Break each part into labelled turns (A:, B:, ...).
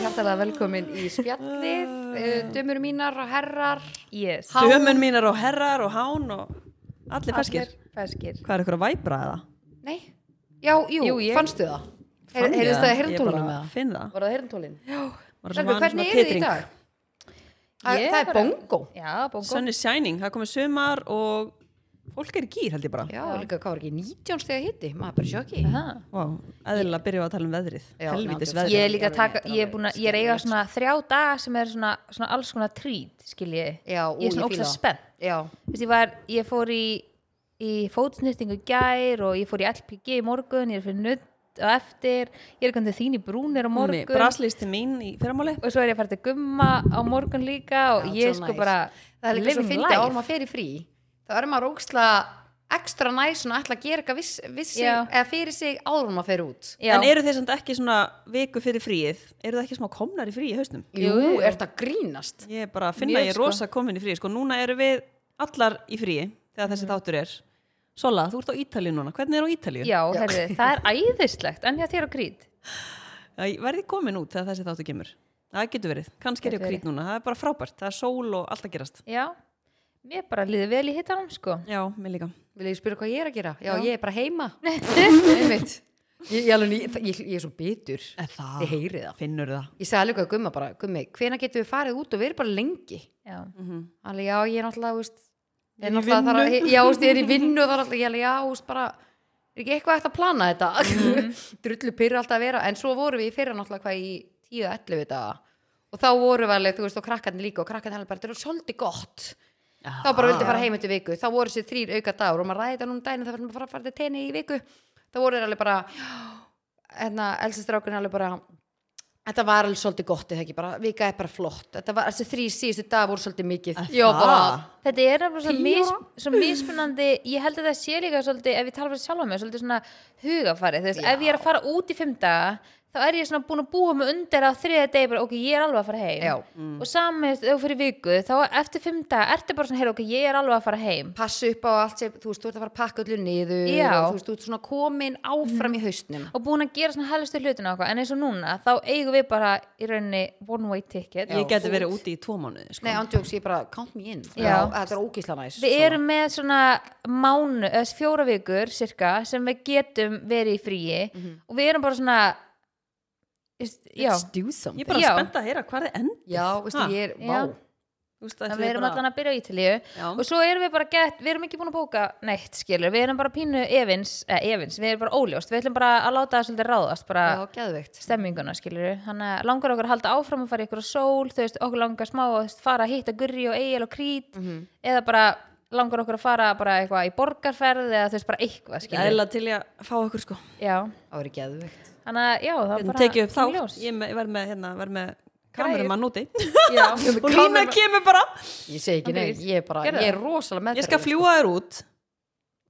A: hjartalega velkomin í spjallið, uh, dömur mínar og herrar,
B: Yes.
A: Há- Hán.
C: Dömur mínar og herrar og hán og allir feskir.
A: allir feskir.
C: Hvað er ykkur að væbra eða?
A: Nei, já, jú,
B: Jú, ég-
A: fannstu það?
C: Fann ég
A: Heyrðist það í
C: Ég bara
A: herntólunum eða?
C: Finn það.
A: Var það herntólin? Já.
C: Var
A: Selvi,
C: svona-
A: hvernig
C: svona
A: er þið í
C: titring.
A: dag? Það,
B: Ég
A: það er
B: bara-
A: bongo.
B: Já, bongo.
C: Sun is shining, það er komið sumar og fólk er í gýr held ég bara.
A: Já, líka, hvað var ekki, 19 steg hitti? Maður er bara sjokki.
B: Aha.
C: Vá, eðlilega byrjum við að tala um veðrið.
A: Já,
C: Helvítis
A: nákvæmlega.
C: veðrið.
B: Ég er líka að taka, ég er búin að, ég er að eiga svona þrjá daga sem er svona, svona alls konar trýt, skil ég.
A: Já, ú,
B: ég er svona
A: ég fíla
B: ógstast
A: það.
B: spennt.
A: Já,
B: Þú veist, ég var, ég fór í, í fótsnýstingu gær og ég fór í LPG í morgun, ég er fyrir nutt og eftir, ég er komið til þín í brúnir á morgun.
C: Braslist til mín í fyrramáli.
B: og svo er ég að fara til gumma á morgun líka og
A: Já,
B: ég
A: so
B: sko
A: nice.
B: bara
A: það er líka svo
B: living
A: fyndið
B: life.
A: áður maður fer í frí. Það er maður óksla ekstra næs og ætla að gera eitthvað viss, viss sig,
B: Já.
A: eða fyrir sig áður en maður fer út.
B: Já.
C: En eru þeir samt ekki svona viku fyrir fríið? Eru það ekki smá komnar í fríið í hausnum?
A: Jú,
B: Jú, jú.
A: er þetta grínast?
C: Ég er bara að finna
B: Mjög,
C: ég er
B: sko.
C: rosa komin í fríið. Sko núna eru við allar í fríið þegar
A: Mm.
C: þessi þáttur er. Sola, þú ert á Ítalíu núna. Hvernig er á Ítalíu?
B: Já, herri, það er æðislegt, en já, þér á krít
C: Það verði komin út þegar þessi þáttu kemur. Það getur verið. Kannski er ég
B: Gæti
C: á krít núna. Það er bara frábært. Það er sól og allt að gerast.
B: Já, mér bara líði vel í hittanum sko
C: Já, mér líka.
A: Vil ég spyrja hvað ég er að gera? Já, ég er bara heima. Einmitt. Ég, ég, alveg, ég, ég, ég er svo bitur.
C: En það-
A: Ég heyri það.
C: Finnur það.
A: Ég sagði alveg að gumma bara, gummi, hvena getum við farið út og verið bara lengi?
B: Já,
C: Mhm.
A: Alveg, já, ég er náttúrulega, þú veist, ég
C: Ég
A: er
C: er í
A: náttúrulega þar að,
C: vinnu.
A: já, þú veist, ég er í vinnu og það er alltaf, ég alveg, já, þú veist, bara, er ekki eitthvað eftir að plana þetta? Drullu pyrra alltaf að vera, en svo vorum við í fyrra náttúrulega hvað í 10-11 þetta og þá vorum við alveg, þú veist, og krakkarnir líka og krakkarnir alveg bara, þetta er svolítið gott. þá bara vildi fara heim eftir viku þá voru sér þrýr auka dagur og maður ræði þetta núna um daginn þá verðum við bara að fara til tenni í viku þá voru þeir alveg bara hérna, elsistrákurinn alveg bara þetta var alveg svolítið gott eða ekki bara, vika er bara flott þetta var, þessi þrý síðustu dag voru svolítið mikið
C: Er
A: já,
C: það?
A: bara,
B: Þetta er nefnilega svo,
A: Tíu
B: mis,
A: ára?
B: svo mismunandi ég held að það sé líka svolítið, ef ég tala fyrir sjálfa mig svolítið svona hugafarið, þú veist,
A: Já.
B: ef ég er að fara út í fimm daga þá er ég svona búin að búa mig undir á þriða degi bara, ok, ég er alveg að fara heim
A: Já.
B: og samist, ef þú fyrir viku, þá eftir fimm daga ertu bara svona, hey, ok, ég er alveg að fara heim
A: passu upp á allt sem, þú veist, þú ert að fara að pakka öllu niður
B: Já.
A: og þú veist, þú ert svona komin áfram í haustnum
B: og búin að gera svona helstu hlutina og eitthvað, en eins og núna, þá eigum við bara í rauninni one way ticket
C: Ég geti verið úti í tvo mánuði. Sko.
A: nei, andjóks, ég bara, count me in
B: Já.
A: þetta er sko. ógislega næs
B: Við erum með svona mánu, eða fjóra vikur cirka, sem við getum verið í fríi og við erum bara svona just, já,
A: let's do
C: Ég er
A: something
C: bara
B: Já.
C: spennt að heyra hvað er end.
A: já, veistu,
C: Ha.
A: ég er,
B: Já.
A: vá
C: Þú veist,
B: en
C: ætli
B: við
C: ég
B: erum
C: bara-
B: allan að byrja á Ítalíu
C: Já.
B: og svo erum við bara gett, við erum ekki búin að bóka neitt skilur, við erum bara pínu evins, eh, evins við erum bara óljóst, við ætlum bara að láta það svolítið ráðast bara
A: já, geðveikt
B: stemminguna skilur þannig að langar okkur að halda áfram að fara í ykkur sól þú veist, okkur langar smá að þú veist, fara að hitta gurri og eigil og krít eða bara langar okkur að fara bara eitthvað í borgarferð eða þú veist, bara eitthvað
C: Ég
B: skilur
C: ætla til ég að fá okkur sko
B: já,
A: það verið geðveikt
B: þannig að já, það var
C: Hérna
B: bara
C: tekið upp
B: kemur í
C: þá
B: ljós.
C: Ég me- verð með, hérna, verð með kamerumann úti
B: já,
C: Og Lína kemur bara
A: Ég segi ekki
B: Andrés,
A: neitt, ég er bara,
B: gerðu
A: ég
B: það.
A: er rosalega með
C: Ég skal fljúa þér út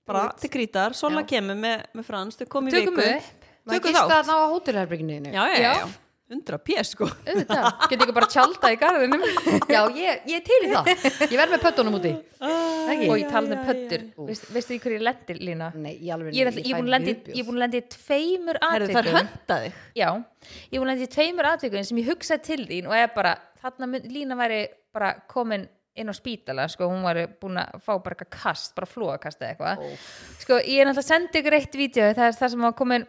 C: Bara til grítar Sola kemur með, með frans Þau kom í
B: tökum
C: viku
B: við upp
A: Tökum
C: Tökum
A: þá. Maður gist
C: þátt
A: að ná að hótelherberginu.
C: Já, já,
B: Já.
C: já, já 100 pés sko
B: auðvitað, getur ykkur bara tjálta í garðinum
A: Já, ég, ég er til í það. Ég verð með pöttunum úti.
B: og ég tala um
C: já, Mm,
B: pöttur
A: já.
B: veist- veistu í hverju ég lendir Lína?
A: Nei, ég alveg,
B: ég er alltaf- ég er búin að lenda í- ég er búin að lendi tveimur
C: Herðu, Það er
B: atvikum
C: hönda þig
B: Já, ég var lendið í tveimur atvikum sem ég hugsaði til þín og er bara, þarna mynd, Lína væri bara komin inn á spítala, sko, hún væri búin að fá bara eitthvað kast, bara flóakast eða eitthvað sko, ég er náttúrulega sendið ykkur eitt vídeo það er það sem var komin,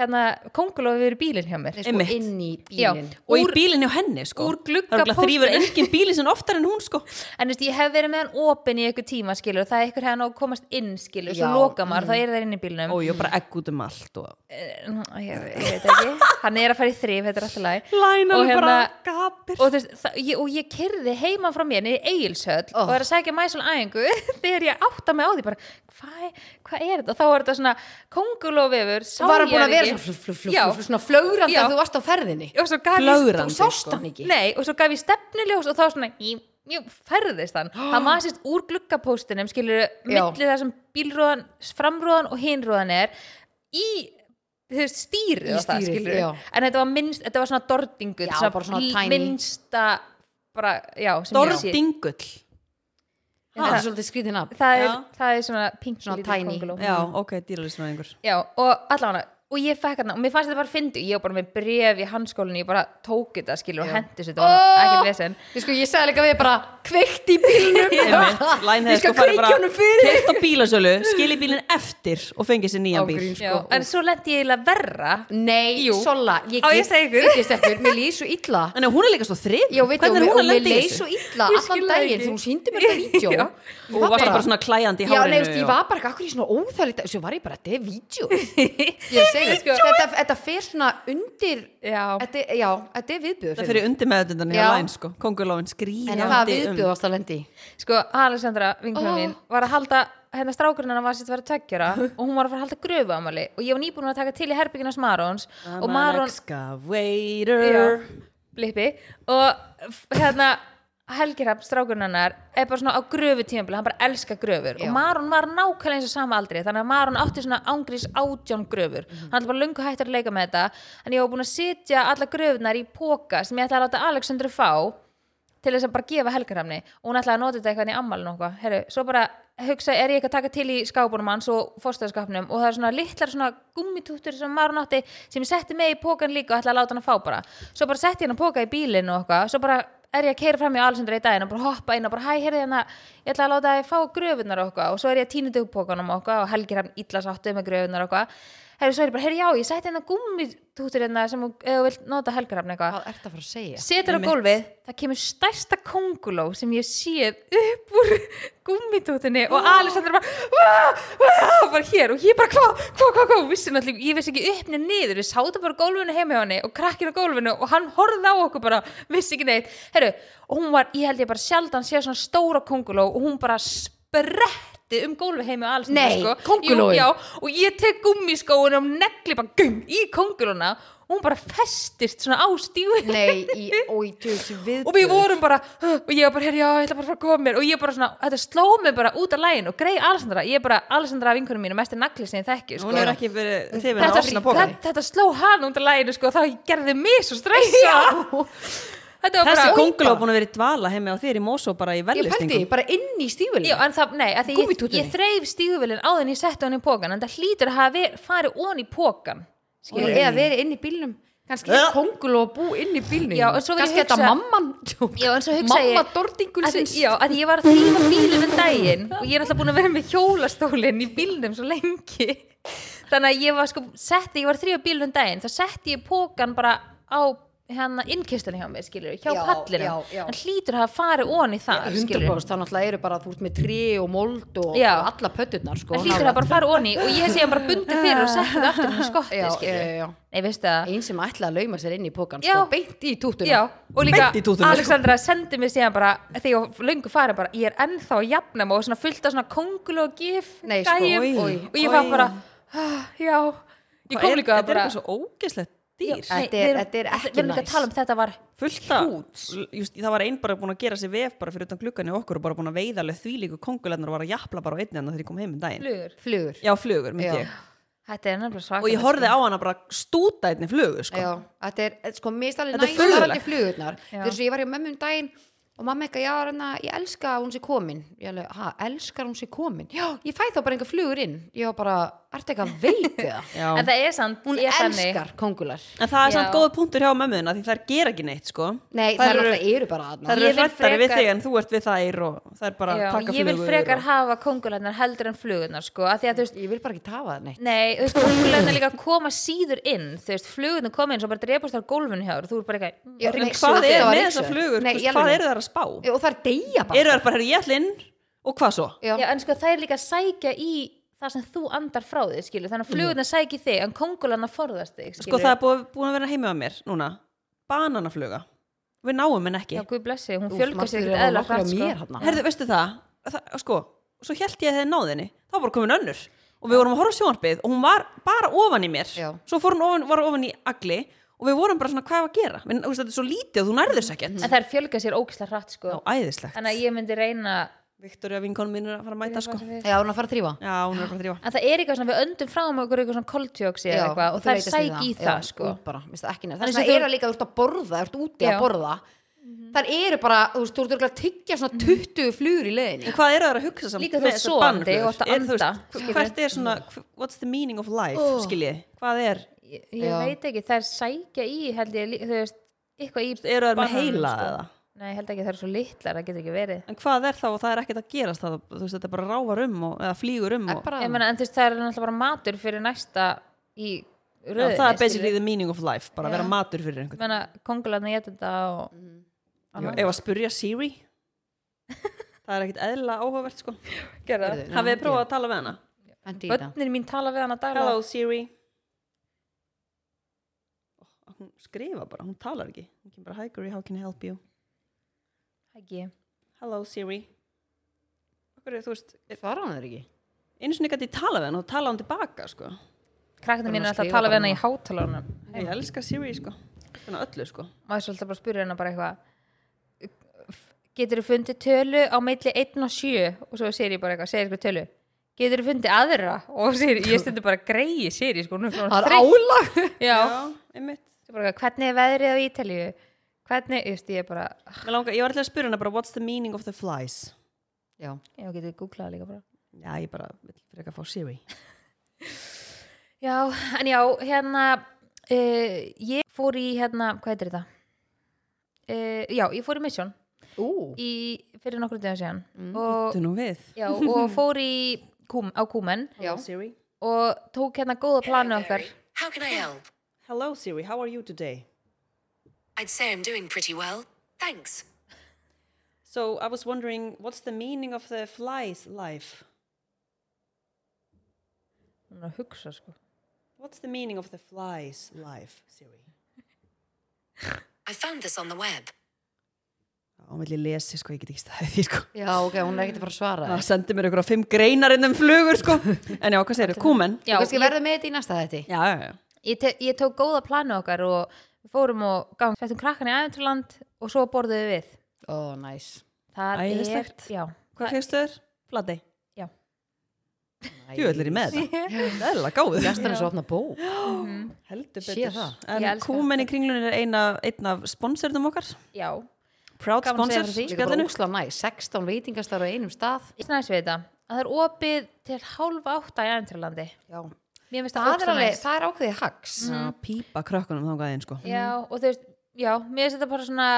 B: hérna kongulofi verið bílinn hjá mér
A: sko,
C: einmitt.
A: inn í bílinn.
B: Já.
C: Og í
B: Úr-
C: bílinni á henni sko
B: úr glugga
C: Það er örugglega þrífur
B: póstur.
C: engin bílinn sem oftar en hún sko
B: en þú veist, ég hef verið með hann opinn í ykkur tíma skilur, og það er ykkur hefði nóg að komast inn skilur, svo
A: Já.
B: loka maður,
C: mm.
B: þá er það inn í bílnum
C: Og ég bara egg út um allt og
B: Eh, ég, ég veit ekki, hann er að fara í þrif þetta er alltaf læg
C: Læna
B: Og hérna-
C: bara gapir
B: og, þú veist, það, ég, og ég kyrði heima frá mér niður eigilsöll
A: Oh.
B: og er að sækja mæsul æfingu þegar ég átta mig á því bara hvað hva er þetta? Og þá var þetta svona kongulóvefur, sá
A: Var hann
B: ég
A: búin að
B: hann
A: vera
B: ekki.
A: svona, fl- fl-
B: Já.
A: fl- fl- svona flögrandi
B: Já.
A: að þú varst á ferðinni?
B: og svo gaf ég,
C: Flögrandi,
A: Þú sást
C: sko.
A: hann ekki?
B: nei, og svo gaf ég stefnuljós og þá svona ég, ég færðist hann það masist úr gluggapóstinum skilur
A: Já.
B: milli það sem bílróðan framróðan og hinróðan er í þú veist,
A: Í
B: stýrið og það
A: stýrið,
B: skilur
A: já.
B: en þetta var, minnst, þetta var svona dordingu
A: Já, bara svona tiny.
B: minnsta bara, já, sem ég sé.
C: Dordingull
A: Það er svolítið skrítið nafn.
B: það er,
C: Já.
B: það er svona pink
A: Svona
C: Mm.
B: lítið
A: tiny.
B: könguló.
C: Já, ok, dýralistunæðingur
B: já, og allavega og ég fekk hann og mér fannst þetta bara fyndu ég var bara með bref í handskólinu ég bara tók þetta skilur og hendi þessu þetta var
A: Ó!
B: ekkert vesen
A: Ég, sko, ég sagði líka við bara kveikt í bílnum
C: Læn
A: Ég
C: hefði
A: skal
C: sko farið
A: kveikja honum fyrir
C: keypt á bílasölu, skili bílinn eftir og fengið sér nýjan bíl.
A: Ágríns.
B: Já,
A: Sko,
B: en svo lendi ég eiginlega verra
A: Nei,
B: Jú.
A: Sola, ég
B: Á, ég segi ykkur.
A: getist ekkur, mér líði svo illa
C: Þannig að hún er líka svo þrið.
A: Já, veit ég,
C: Hvernig er
A: og-
C: hún
A: og
C: að
A: mér
C: lendi
A: leið
C: í
A: svo
C: þessu?
A: illa
B: Ég skil
A: allan
B: það
A: daginn
B: ekki.
A: þú sýndi mér þetta vídeo
B: Já.
A: Ég
C: Og
A: var
C: varst bara svona klæjandi í
A: Já,
C: hárinu.
A: nei, veist, ég
C: og-
A: var bara eitthvað, af hverju er ég svona óþægilegt Svo var ég bara, þetta er vídeo Ég segi, sko, þetta, þetta fer svona undir
B: Já.
A: þetta, er- já, þetta er viðbjöður
C: Það fyrir undir meðutundan í
A: Já.
C: alæn, sko. Kongulóin skrýjandi
A: En það
B: um-
C: um-
A: viðbjöðast að lendi í.
B: sko, Alessandra, vinkona
A: Ó.
B: mín var að halda, hérna strákurinn hennar var sitt að vera tveggjara og hún var að fara að halda gröfu ámali og ég var nýbúin að taka til í herbygginas Marons
A: Ah,
B: og Maron,
C: Excavator.
B: blippi og f- hérna Helgi Hrafn, strákurinn hennar, er bara svona á gröfu tímabili, hann bara elskar gröfur
A: Já.
B: og Maron var nákvæmlega eins og sama aldrei þannig að Maron átti svona ángrís átjón gröfur
A: Mhm.
B: hann er bara löngu hættur að leika með þetta en ég var búin að setja alla gröfunar í póka sem ég ætlaði að láta Alexander fá til þess að bara gefa helgarhamni og hún ætlaði að nota þetta eitthvað í ammálinu og eitthvað Heru, svo bara hugsa, er ég ekki að taka til í skápunum hans og fórstöðskapnum og það er svona litlar svona gummitúttur sem maður nátti sem ég setti með í pókan líka og ætlaði að láta hann að fá bara svo bara setti ég hann að póka í bílinu og eitthvað svo bara er ég að keira fram í Alessandra í daginn og bara hoppa inn og bara hæ, heyrði hérna ég ætla að láta þið fá gröfunar og eitthvað og svo er ég að tína upp pókanum og eitthvað og helgir hann illa sáttu með gröfunar og eitthvað Heru, svo er ég bara, heyrði já, ég setti hérna gummitúttur hérna sem þú- ef þú vilt nota helgarhamni eitthvað
A: Hvað ertu að fara að segja?
B: setur á gólfið, það kemur stærsta konguló sem ég hef séð upp úr gummitútinni og Alessandra bara, "Vá, vá," bara hér og ég bara hvað, hvað, hvað, hvað, vissi náttúrulega ég vissi ekki upp niður, niður, við sátum bara á gólfinu heima hjá henni og krakkin á gólfinu og hann horfði á okkur bara, vissi ekki neitt Heru, og hún var, ég held ég bara sjaldan séð svona stóra konguló og hún bara spretti um gólfi heima á Alessandra
A: Nei,
B: sko.
A: köngulóin.
B: Jú, já, og ég tek gummiskóin og negli bara gum í kongulóna og hún bara festist svona á stífið
A: Nei, í, og í tjóðs
B: og við
A: viðbjöður
B: vorum bara "Huh?" og ég var bara, herri, já, ég ætla bara að fara að koma mér og ég bara svona, þetta sló mig bara út af lægin og grei Alessandra, ég er bara Alessandra vinkunum mínu mest er nagli sem ég þekki, sko
C: Hún er ekki verið þifin á
B: þetta,
C: sína
B: þetta,
C: bókari.
B: þetta sló hann út af læginu, sko, og það gerði mig svo stressa þetta var bara
C: Þessi konguló búin að vera í dvala heimi á þér í Mosó bara í
A: Ég pælti,
C: verðlistingum.
A: bara inn í stífili
B: Já, en það, nei, að því ég,
A: Gúmmítútunni.
B: ég þreif stíguvillin áður en ég setti hann í pókan en það hlýtur að hafa ver, farið ón í pókan
A: Skilur, eða verið inn í bílnum kannski
C: Ja.
A: er kongul og bú inn í bílnum
B: Já, en svo vil ég
A: kannski
B: hugsa-
A: þetta mamman
B: Já, en svo hugsa ég
A: mamma
B: að því-
A: dordingulsins
B: Já, að því ég var að þrýfa bílum um daginn og ég er alltaf búin að vera með hjólastólinn í bílnum svo lengi þannig að ég var sko, setti, ég var að þrýfa bílum um daginn þá setti ég pókan bara á hérna innkistunni hjá mig, skilur hjá
A: Já,
B: pallinum,
A: já, já.
B: en hlýtur að hafa farið ón í það, skilur
A: 100% þá náttúrulega eru bara þú ert með trí og mold og
B: Já.
A: og alla pötturnar sko,
B: en hlýtur að bara farið ón í og ég sé hann bara bundið fyrir og setti það aftur hann í skotti,
A: Já,
B: skilur
A: já, já.
B: Nei, veistu það
A: ein sem ætlaði að lauma sér inn í pokan
B: Já.
A: sko, beint í tútuna
B: Já, og líka
C: Beint í tútuna, sko.
B: Alexandra sendi mér síðan bara þegar ég var löngu farin bara, ég er ennþá að jafna mig og svona fullt af svona kongul og gif
A: Nei, sko,
B: gæjum.
A: oj, oj,
B: og ég var
C: oj.
B: bara, ah, já ég kom líka
C: Þetta er
B: bara
C: eitthvað svo ógeslegt dýr.
A: Þetta er- þetta er ekki
B: Við erum líka
A: næs.
B: að tala um þetta var
C: fullt af
B: Hrút.
C: l- just, það var einn bara búin að gera sér vef bara fyrir utan gluggan í okkur og bara búin að veiða alveg þvílíku kongulennar og var að japla bara á einni hann þegar ég kom heim um daginn
B: flugur
A: flugur
C: já, flugur, myndi
A: Já.
C: ég
B: Þetta er nefnilega svakar
C: og ég horfið á hana bara stúta einni flugu sko.
A: Já, þetta er sko mistalið
C: Þetta
A: næst
C: er
A: varandi
C: furðulegt.
A: flugurnar
B: Já.
A: þess að ég var hjá mömmu um daginn og mamma eitthvað, já, hérna, ég elska að hún sé komin ég alveg, ha, elskar hún sé komin já, ég fæ þá bara einhver flugur inn ég var bara, ertu eitthvað veik eða
C: Já.
B: En það er samt,
A: hún
B: ég er þannig
A: elskar kongular
C: en það er
B: Já.
C: samt góð punktur hjá mömmuðina því þær gera ekki neitt sko.
A: nei, það eru, eru bara
C: þær
A: aðna
B: Ég
C: eru
B: vil
C: hrættari við
B: frekar-
C: þig en þú ert við þær og þær bara
B: Já,
C: taka
B: Ég vil
C: flugur
B: frekar
C: og...
B: hafa kongularnar heldur en flugurnar sko, að því að þú veist
A: ég vil bara ekki tafa það neitt
B: Nei, þú veist, flugurnar líka koma síður inn þú veist, flugurnar koma inn svo bara drepast þar gólfinu hjá þér og þú er bara eitthvað mm,
A: Já,
C: en
A: nei, sko,
C: hvað
A: þetta
C: er
A: var
C: með
A: ryksuga.
C: þessar flugur
A: Nei,
C: Þú
A: í
C: veist, hvað
A: alvöru.
C: eru þær að spá
A: og það er deyja bara
C: eru þær bara, herru, ég ætla inn og hvað svo
A: já,
B: Já, en sko það er líka að sækja í það sem þú andar frá þig, skilur þannig að flugurna sækja í þig, en kongulanna forðast þig skilur.
C: Mhm. sko, það er búið, búin að vera heima á mér núna, bananafluga við náum henn ekki
B: Já, guð blessi, hún
A: Úff,
B: fjölgar
A: máttur
B: sér ekkert
A: eru
B: eðla
A: nokkrar á mér
B: sko.
A: þarna.
C: Herðu, veistu það, það sko, svo held ég að þið náðinni þá var bara komin önnur og við vorum að horfa á sjónarpið og hún var bara ofan í mér
A: Já.
C: svo fór hún ofan, var ofan í agli og við vorum bara svona hvað á að gera Men, veist, þetta er svo lítið og þú nærður þess ekkert
A: Mm.
B: En það er fjölgar sér ógislega hratt sko.
C: Já, æðislegt
B: Þannig að ég myndi reyna
C: Viktoria vinkonum mín er að fara að mæta sko Já,
A: já, hún er að fara að þrýfa
C: hún er bara að þrýfa
B: En það er eitthvað svona, við öndum frá um okkur eitthvað svona koltjóksi eða eitthvað og það er sæki í það sko.
A: bara, minnst það ekki neitt
B: Þannig
A: þannig að
B: sem
A: það
B: þú-
A: eru líka, þú ert að borða, þú ert úti
B: Já.
A: að borða þar eru bara, þú veist, þú eru að tyggja svona 20 flugur í leiðinni
C: En hvað eru það að hugsa samt
B: Líka þú
C: með
B: ert
C: þessar
B: sofandi
C: bannflugurnar?
B: og ert að
C: Er, þú veist,
B: anda,
C: hv-
B: skilur.
C: Hvert er svona, hv- what's the meaning of life, oh. skiljið? Hvað er,
B: ég, ég
A: Já.
B: veit ekki, þær sækja í held ég, lí- þú veist, eitthvað í
C: eru það með
B: bananum,
C: heila
B: sko.
C: eða?
B: Nei, ég held ekki þær eru svo litlar, það getur ekki verið
C: En hvað er þá og það er ekkert að gerast það, þú veist, þetta er bara ráfar um og, eða flýgur um
A: er
C: og,
A: bara,
B: Ég meina, en þú veist, það er náttúrulega bara matur fyrir næsta í
C: Já,
B: röðinni
C: það er basically the meaning of life, bara að vera matur fyrir
B: Ég
C: einhvern.
B: meina, kongularni geta þetta og
C: Já, Ef að spurja Siri, það er ekkert eðla áhugavert sko.
B: Gerða
A: Heyrðu,
C: Hafið þið prófað að tala við hana?
A: hendi í það
B: Bönnir mín tala við hana daglega
C: Hello Siri Ó, Hún skrifa bara, hún talar ekki Hún kemur bara, hi Guri, how can I help you?
B: Ekki
C: Hello Siri Okkur er, þú veist,
A: svara hann þér ekki
C: einu sinni gæti ég tala við hann og tala hann tilbaka, sko
B: Krakknir mín
A: Þurfum að
B: er alltaf að
A: skrifa
B: tala við
A: bara
B: hana í hátalarunum
C: Ég elska Siri, sko Þannig öllu, sko
B: Maður svolítið bara spyrir hana bara eitthvað Getur þú fundið tölu á milli 1 og 7 og svo segir ég bara eitthvað, segir eitthvað tölu Getur þú fundið aðra og segir, ég stundi bara greið, segir ég sko, hún er
A: það
B: svona
A: er
B: þreytt.
A: álag
B: Já,
C: einmitt
B: Svo bara, hvernig er veðrið á Ítalíu hvernig, ég veist, ég er bara
C: Mér langa, Ég var alltaf að spyrja hana bara, what's the meaning of the flies?
A: já,
B: já, getið googlað líka bara
C: Já, ég bara, vil frekar fá Siri
B: já, en já, hérna uh, ég fór í hérna, hvað heitir þetta uh, já, ég fór í Mission
A: ú,
B: í, fyrir nokkru dæðan síðan og,
C: Þú nú við
B: já, og fór í kúm, á kúmen
A: já
C: Siri
B: og tók hérna góða planu okkar
D: How can I help?
C: Hello Siri, how are you today?
D: I'd say I'm doing pretty well. Thanks.
C: So I was wondering, what's the meaning of the flies life?
B: hún er að hugsa sko
C: What's the meaning of the flies life, Siri?
D: I found this on the web.
C: Hún vil ég lesi, sko, ég get ekki staðið því, sko.
A: já, ok, hún er ekkert að fara að svara
C: Það
A: þér
C: sendi mér ykkur á fimm greinar inn um flugur, sko. En já, hvað segir þau? Kúmen?
A: þú kannski verður með þetta í næsta þetta
C: Já, já, já.
B: ég, te- ég tók góða planu okkar og við fórum og gang settum krakkan í æventurland og svo borðuðu við
A: ó, næs
B: það er,
C: Æðislegt.
B: já,
C: Hvað fegstu þér? Flati.
B: já
C: Jú, öll er í með þetta. Það er alveg gáður.
A: Gestur er svo opna bó
C: Heldur
A: Sé
C: betur.
A: það.
C: En
B: Ég elska
C: Kúmen í kringlunni er einn af, einn af sponsornum okkar.
B: Já,
C: Proud
B: Gaman að segja
C: sponsor,
B: frá því.
A: Líka bara
C: spjallinu.
A: ósla næs, 16 veitingastar á einum stað
B: ég snæs við þetta að það er opið til hálfa átta í æventurlandi
A: Já,
B: Mér finnst það
A: það er
B: ógsta
A: alveg,
B: næs
A: það er ákveðið hags
C: Já, pípa krökkunum þangað einn, sko.
B: Já, og þú veist, já, mér finnst þetta bara svona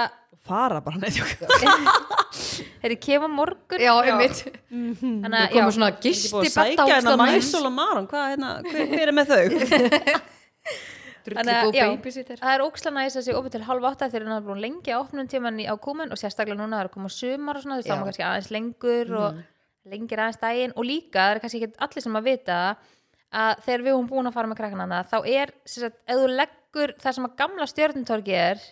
C: Fara bara neitt sko. okkur.
B: Þeir kemur morgun
A: Já, einmitt
B: Þannig
A: Það komið svona
B: að, já,
C: Ég er búin að
A: gisti
C: sækja hérna Mæsól og Maron. Hvað, hérna, hver, hver er með þau?
A: Drulli
B: þannig að,
A: góð
B: já,
A: babysitter
B: það er ókslega næs að sé opið til hálfa átta þegar hann er búin lengi að opnum tíman í ákomin og sérstaklega núna það er að koma sumar og svona, þú veist,
A: Já. Mhm.
B: það er kannski aðeins lengur og lengir aðeins daginn og líka, það er kannski ekki allir sem að vita það, að þegar við höfum búin að fara með krakkana þá er, sem sagt, ef þú leggur það sem að gamla stjörnutorgi er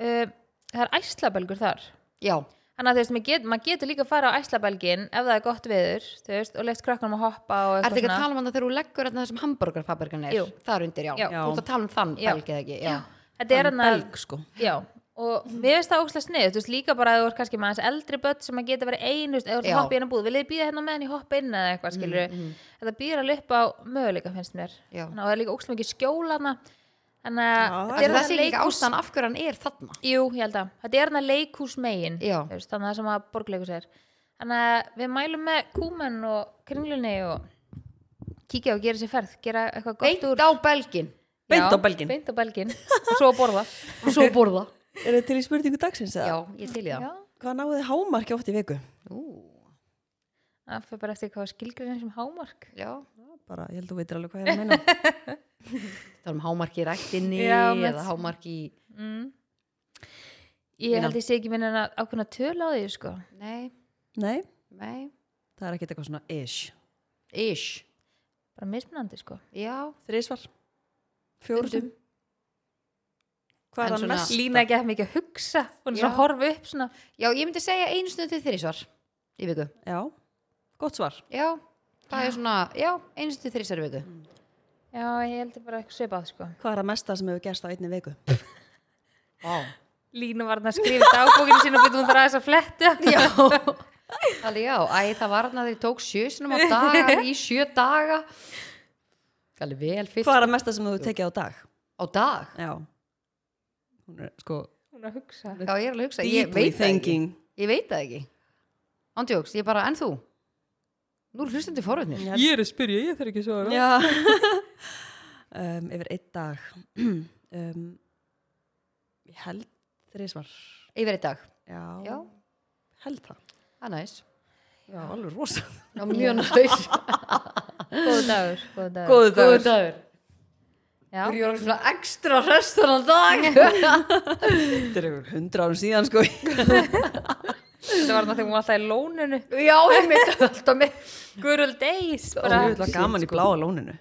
B: um, það er æslabelgur þar
A: Já,
B: Þannig að þú veist, maður get, maður getur líka að fara á æslabelgin ef það er gott veður, þú veist, og leift krakkanum að hoppa og
A: ertu
B: eitthvað
A: ekki að tala um það þegar þú leggur þarna þessum hamburgerfabergan er
B: Jú.
A: Það er undir, já,
B: Já.
A: þú ert að tala um þann
B: Já.
A: belgið ekki Já,
B: Þetta er hann að,
C: Belg, sko.
B: já, og mér finnst það ókslega snið, þú veist, líka bara að þú er kannski með hans eldri börn sem að geta verið einu, þú veist, ef þú ert
A: Já. Mm,
B: að hoppa í hennar búð, vil þið býða hérna á meðan ég hoppa inn eða eitthvað, skilur Þetta býður alveg upp á möguleika, finnst mér.
A: Já.
B: Þannig að það er líka ókslega mikið skjólana, þannig
C: Já,
B: að
A: Ætli
B: þarna
A: það sé ekki
B: leikhús-
A: ástæðan af hverju hann er þarna
B: Jú, ég held að. Þetta er hann að leikhús megin,
A: Já.
B: veist, þannig að það sem að borgleikus er. Þannig að við mælum með kúmen og kringlunni og kíkja og gera sér ferð, gera eitthvað gott úr.
A: Beint á belgin
C: Beint
B: Já,
C: á belginn.
B: Beint á belgin og svo að borða.
A: og svo borða
C: Er þið til í spurningu dagsins eða?
A: Já, ég til í það
B: Já,
C: Hvað náðu þið hámarki oft í viku?
A: Ú,
B: það fyrir bara eftir hvað skilgrinni sem hámark.
A: Já,
C: Bara, ég held að þú veitir alveg hvað ég er að meina.
A: það er um hámarki í ræktinni
B: Já, með-
A: eða hámarki í
B: Ég held ég sé ekki minna en að ákveðna tölu á því, sko.
A: Nei,
C: Nei,
A: nei,
C: það er ekkert eitthvað svona ish.
A: ish
B: Bara mismunandi, sko.
A: Já,
C: Þrísvar? Fjórum? Hvað
A: En
C: er það
A: svona-
C: mest?
B: Lína ekki að mikið að hugsa, hún er svona
A: Já.
B: að horfa upp svona.
A: já, ég myndi segja einu snuð til þrísvar í viku
C: Já, gott svar.
A: Já, það er svona, já, Mm. einu snuð til þrísvar í viku
B: Já, ég held ég bara eitthvað svipað, sko.
C: Hvað er það mesta sem hefur gerst á einni viku?
A: Vá
B: Lína var hann að skrifa dagbókinu sín og byrja hún þar aðeins að fletta. Já.
A: Alveg já, æ, það var hann að þeir tók sjö sinum á daga í sjö daga Alveg vel fyrst
C: Hvað er það mesta sem hefur tekið á dag?
A: á dag
C: Já. Hún er, sko,
B: hún að hugsa
A: Já, ég er alveg að hugsa, ég
C: Deeply
A: veit það ekki
C: thinking.
A: Ég veit það ekki Andjóks, ég bara, en þú? Nú er hlustandi forvitnir
C: Já.
B: Ég er að spyrja, ég þarf ekki að svara
C: Já um, Yfir einn dag um, Ég held þrísvar
A: Yfir eitt dag,
C: Já,
A: já,
C: held það
A: það er næs
C: Já, alveg rosa
A: Já, mjög næs
B: Góðu dagur, góðu dagur
C: Góðu
A: Góður
C: dagur
A: dagur
B: Já.
A: Ég var svona ekstra hress þannig dag
C: Þetta er einhver hundra árum síðan sko
B: Þetta var þannig að þegar hún var alltaf í lóninu
A: Já, einmitt, alltaf með
B: Good old days bara.
C: Það var gaman í bláa lóninu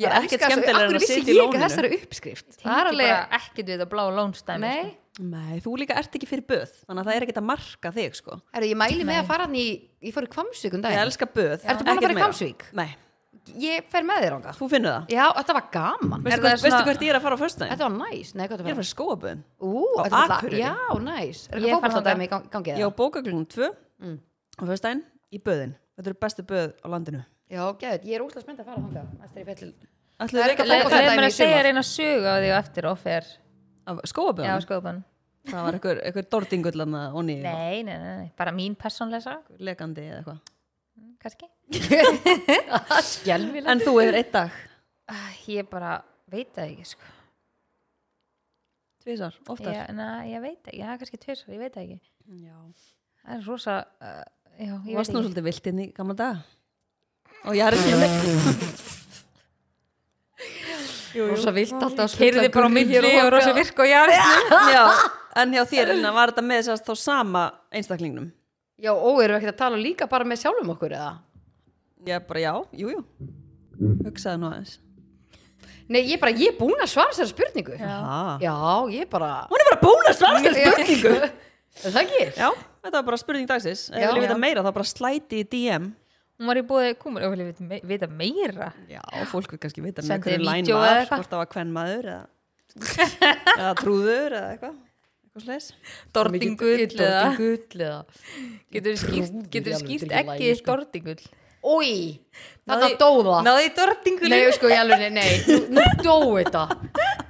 A: Ég
C: Það er ekkert
A: elska þessu-
C: skemmtilegra en
A: af hverju
C: að
A: vissi
C: sitja í
A: ég ekki
C: lóninu.
A: þessari uppskrift
B: Það er alveg ekkert við að blá lónstæmi
A: Nei,
C: Nei, þú líka ert ekki fyrir böð Þannig að það er ekkert að marka þig sko
A: Heru, ég mæli með að fara hann í Ég fór í Kvamsvík um
C: Ég
A: daginn
C: elska böð
A: Ertu búin að
C: ekkert
A: fara í
C: meira.
A: Hvammsvík?
C: Nei,
A: Ég fer með þér ánga
C: þú finnur það
A: Já, þetta var gaman
C: Veistu,
B: það
C: hvert,
B: svona-
C: veistu hvert ég er að fara á föstudaginn?
A: Þetta var næs Nei, hvað það
C: Ég er að
A: var
C: fara í skóaböðin
A: Ú,
C: Á
A: þetta var
C: Akureyri.
A: Já, næs Er þetta
B: Ég fer
A: fókbaltadæmi í
B: þangað.
A: gang- gangi
C: Ég á
A: það?
C: bóka klunum 2
B: Mm.
C: á föstudaginn í böðin Þetta eru bestu böð á landinu
A: Já, geðið Ég er úslega spennt að fara þanga Næstir í fellin
C: Ætluðu þið ekki að
A: Le-
C: fóka
A: le-
B: Leðum
A: dæmi
B: mér
A: í
B: að segja
A: sumar.
B: reyna sög á því og eftir og fer
C: af
B: Já,
C: skóaböðin?
B: skoðum
C: Það var einhver, einhver dordingull hann að onni
B: Nei, nei, nei, nei, bara mín persónlega saga
C: lekandi eða eitthvað.
B: kannski
A: Skelvilega
C: En þú hefur eitt dag,
B: Æ, Ah, Ég bara veit það ekki sko.
C: tvísar, oftar.
B: ég, na, ég veit ekki, já, kannski tvisar, ég veit það ekki
C: Já.
B: Það er rosa uh, já,
C: Þú
B: ég veit
C: varst nú
B: ekki.
C: svolítið vilt inn í gamla dag. Og ég er ekki
A: Rosa vilt alltaf að
B: Keyrði
A: skutla
B: bara á
A: gulli
B: milli
A: hér og
B: og
A: þangað.
B: rosa virk og jarðslu
C: Já, en hjá þér Elina, var þetta með þess að þá sama einstaklingnum?
A: Já, ó, erum við ekkert að tala líka bara með sjálfum okkur eða?
C: Ég bara já, jú, jú. Hugsaði nú aðeins.
A: Nei, ég bara, ég er búin að svara þessari spurningu
C: Ha.
A: Já, ég bara
C: Hún er bara búin að svara þér spurningu.
A: Er Það ekki?
C: Já, þetta var bara spurning dagsins. Ef
A: Já.
C: ég vil vita
A: Já.
C: meira þá bara slæti í DM.
B: Hún var í búið kúmur, ég vil vita me- vita meira
C: Já, fólk vil kannski vita með
B: Sendi
C: hverju læn
B: vídeó eða
C: var,
B: eitthvað.
C: hvort það var hvern maður eða, eða trúður eða eitthvað, eitthvað slags.
B: Dordingull eða
A: Dordingull eða
B: Getur skýrt, getur
A: alveg
B: skýrt
A: drilla
B: ekki
A: lægi, sko.
B: dordingull
A: Úi, þetta dóða
B: Náði í dordingull
A: Nei, sko, ég alveg, nei, nei, nú- nú dói þetta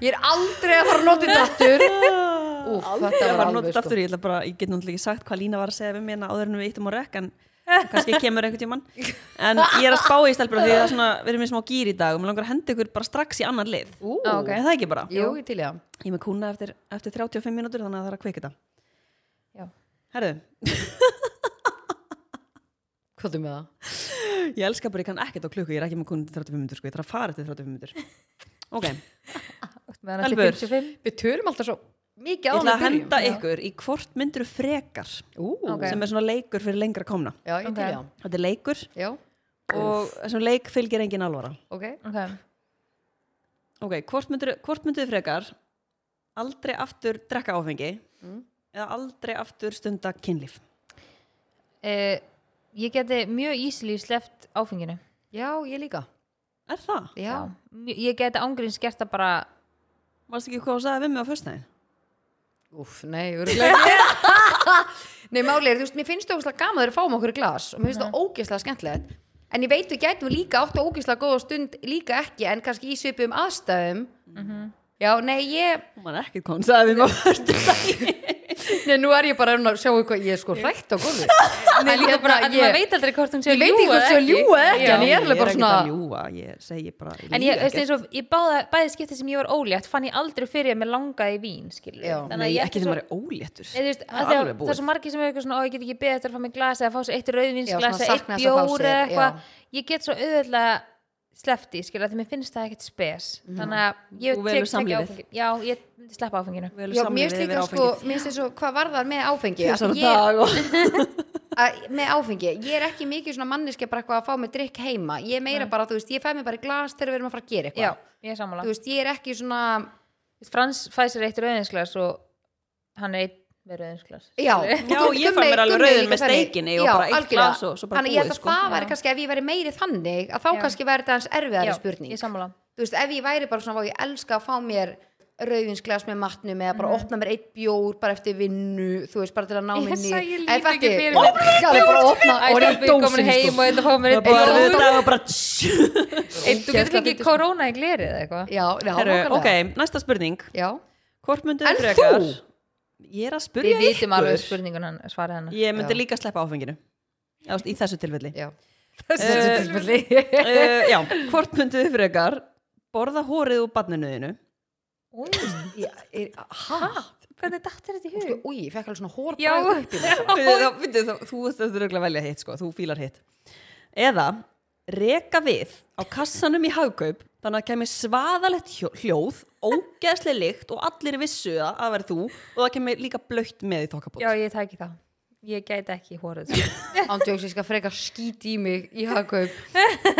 A: Ég er aldrei að fara að nota þetta aftur Úf,
C: Ég
A: þetta
C: var
A: var
C: að nota
A: alveg,
C: þetta aftur,
A: sko
C: ég, ætla bara, ég get náttúrulega ekki sagt hvað Lína var að segja við mér áður en við eittum á rekk en kannski kemur einhvern tímann en ég er að spá í stelpur af því að það er svona, við erum í smá gýr í dag og mér langar að henda ykkur bara strax í annan lið
A: Ú,
B: Á, ok.
C: er það ekki bara?
A: Jú, ég til ég að
C: Ég er með kúna eftir, eftir 35 mínútur þannig að það er að kveika þetta
B: Já.
C: Herðu,
A: Hvað þú með það?
C: ég elska bara, ég kann ekkert á klukku, ég er ekki með kúna eftir 35 mínútur sko, ég þarf að fara eftir 35 mínútur Ok,
B: Meðan hann til
C: Elfur.
B: 55
A: Við tölum alltaf svo mikið á
C: ég ætla
A: hana
C: að
A: í byrjun.
C: henda ykkur í hvort myndur frekar
A: Ú,
B: Ok.
C: sem er svona leikur fyrir lengra komna
A: já, ég til ég að
C: Þetta er leikur
A: Já,
C: og þessum leik fylgir engin alvara
A: ok
B: okay.
C: Ok, hvort myndur, hvort myndur frekar aldrei aftur drekka áfengi eða aldrei aftur stunda kynlíf
B: uh, Ég geti mjög ísli sleppt áfenginu
A: Já, ég líka
C: Er það?
A: Já,
B: Mjö- Ég geti ángurinn skert það bara
C: Varst ekki hvað þú sagði við mig á föstudaginn?
A: úf, nei, örgulega Nei, máli er, þú veist, mér finnst það ógeðslega gaman þegar við fáum um okkur í glas og mér finnst það ógeðslega skemmtilegt en ég veit við gætum líka átt og ógeðslega góða stund líka ekki en kannski í svipum aðstæðum
C: Mhm.
A: Já, nei, ég
C: Hún var ekkert hvað hún sagði við mig á föstudaginn
A: Nei, nú er ég bara að sjá eitthvað, ég er sko hrætt á góðu
B: Nei, líka bara, en maður
A: ég,
B: veit aldrei hvort hún sé
A: ég
B: að
A: veit ekki
B: ljúga
A: hvort
B: eða
A: svo ljúa eða ekki,
B: Já.
A: en ég er alveg bara
C: ekkert
A: svona
C: að ljúa, ég segi bara
B: En ég, veist eins og, ég báða, bæði skipti sem ég var ólétt fann ég aldrei fyrir að mér langaði í vín, skilur
A: Já.
C: Nei, ég ekki þegar maður er óléttur
B: Nei, þú veist,
C: Það er
B: að þegar,
C: alveg búið.
B: það er svo margir sem er eitthvað svona, ó, ég get ekki beðið eftir að fá mig glas eða fá sér eitt
A: Já, svona
B: rauðvinsglas eða eitt
A: sakna þess að fá
B: bjór
A: sér,
B: eða
A: já.
B: eitthvað. Ég get svo auðvitað sleppti, skilja, því mér finnst það ekkert spes.
A: Mhm.
B: Þannig að ég
C: Þú velur samlífið.
B: áfengi. Já, ég myndi sleppa áfenginu.
A: Já, mér finnst líka sko, mér finnst eins og hvað varðar með áfengi að ég,
C: dag og
A: að, með áfengi, ég er ekki mikið svona manniski bara eitthvað að fá mig drikk heima ég er meira bara, þú veist, ég fæ mig bara í glas þegar við erum að fara að gera
B: Já,
A: eitthvað
B: ég er sammála.
A: þú veist, ég er ekki svona
B: Þú veist, Frans fæði sér eitt rauðvinsglas og hann er eitt með rauðvinsglas.
A: Já,
C: Já, ég fæ mér alveg rauðin með steikinni og bara eitt glas og svo bara
A: Þannig ég held
C: búið,
A: að
C: sko.
A: það væri
B: Já.
A: kannski ef ég væri meiri þannig að þá
B: Já.
A: kannski væri þetta hans erfiðari spurning
B: ég er sammála.
A: þú veist, ef ég væri bara svona, "Vá, ég elska að fá mér rauðinsglas með matnum eða bara opna mér eitt bjór bara eftir vinnu þú veist, bara til að ná
B: Mhm. Ég
A: minni
B: sagði, ég lít
A: ekki
B: ekki fyrir
A: fyrir
B: mér.
A: bara að opna
B: Æ,
A: og
B: það
A: reyna
B: er komin heim og
A: dósin
B: þetta fá mér eitt
C: Það var
B: bjór.
C: við dag og bara
B: Eitt- Þú getur
A: Ógeðslega
B: fengið
A: fyndið, sko.
B: korona í glerið eða eitthvað.
A: Já, já,
C: Herru,
A: nákvæmlega.
C: Ok, næsta spurning
A: Já,
C: Hvort myndur
A: En
C: frekar
A: þú?
C: ég er að spyrja
B: Við vitum
C: ykkur
B: alveg spurningun hann, svarið hann
C: ég myndi
A: Já.
C: líka sleppa áfenginu Já, þú veist, í þessu tilfelli
A: já. Uh,
C: Eh, uh, já, hvort myndu þið frekar borða hórið úr barninuðinu
A: Hæ?
B: Hvernig dattir þetta í
C: Sko,
A: Úi,
B: hug?
A: Sko, ég fekk alveg svona
B: Já,
A: hórbæð upp í mig.
C: þú þú veist þetta er auðvitað að velja hitt sko, þú fílar hitt eða reka við á kassanum í hagkaup þannig að kemur svaðalegt hjó- hljóð ógeðslega lykt og allir vissu það að það verður þú og það kemur líka blöytt með í
B: já,
C: þokkabót
B: ég tæki það Ég gæti ekki hórið
A: Ándjóks, ég skal freka skít í mig í hagkaup.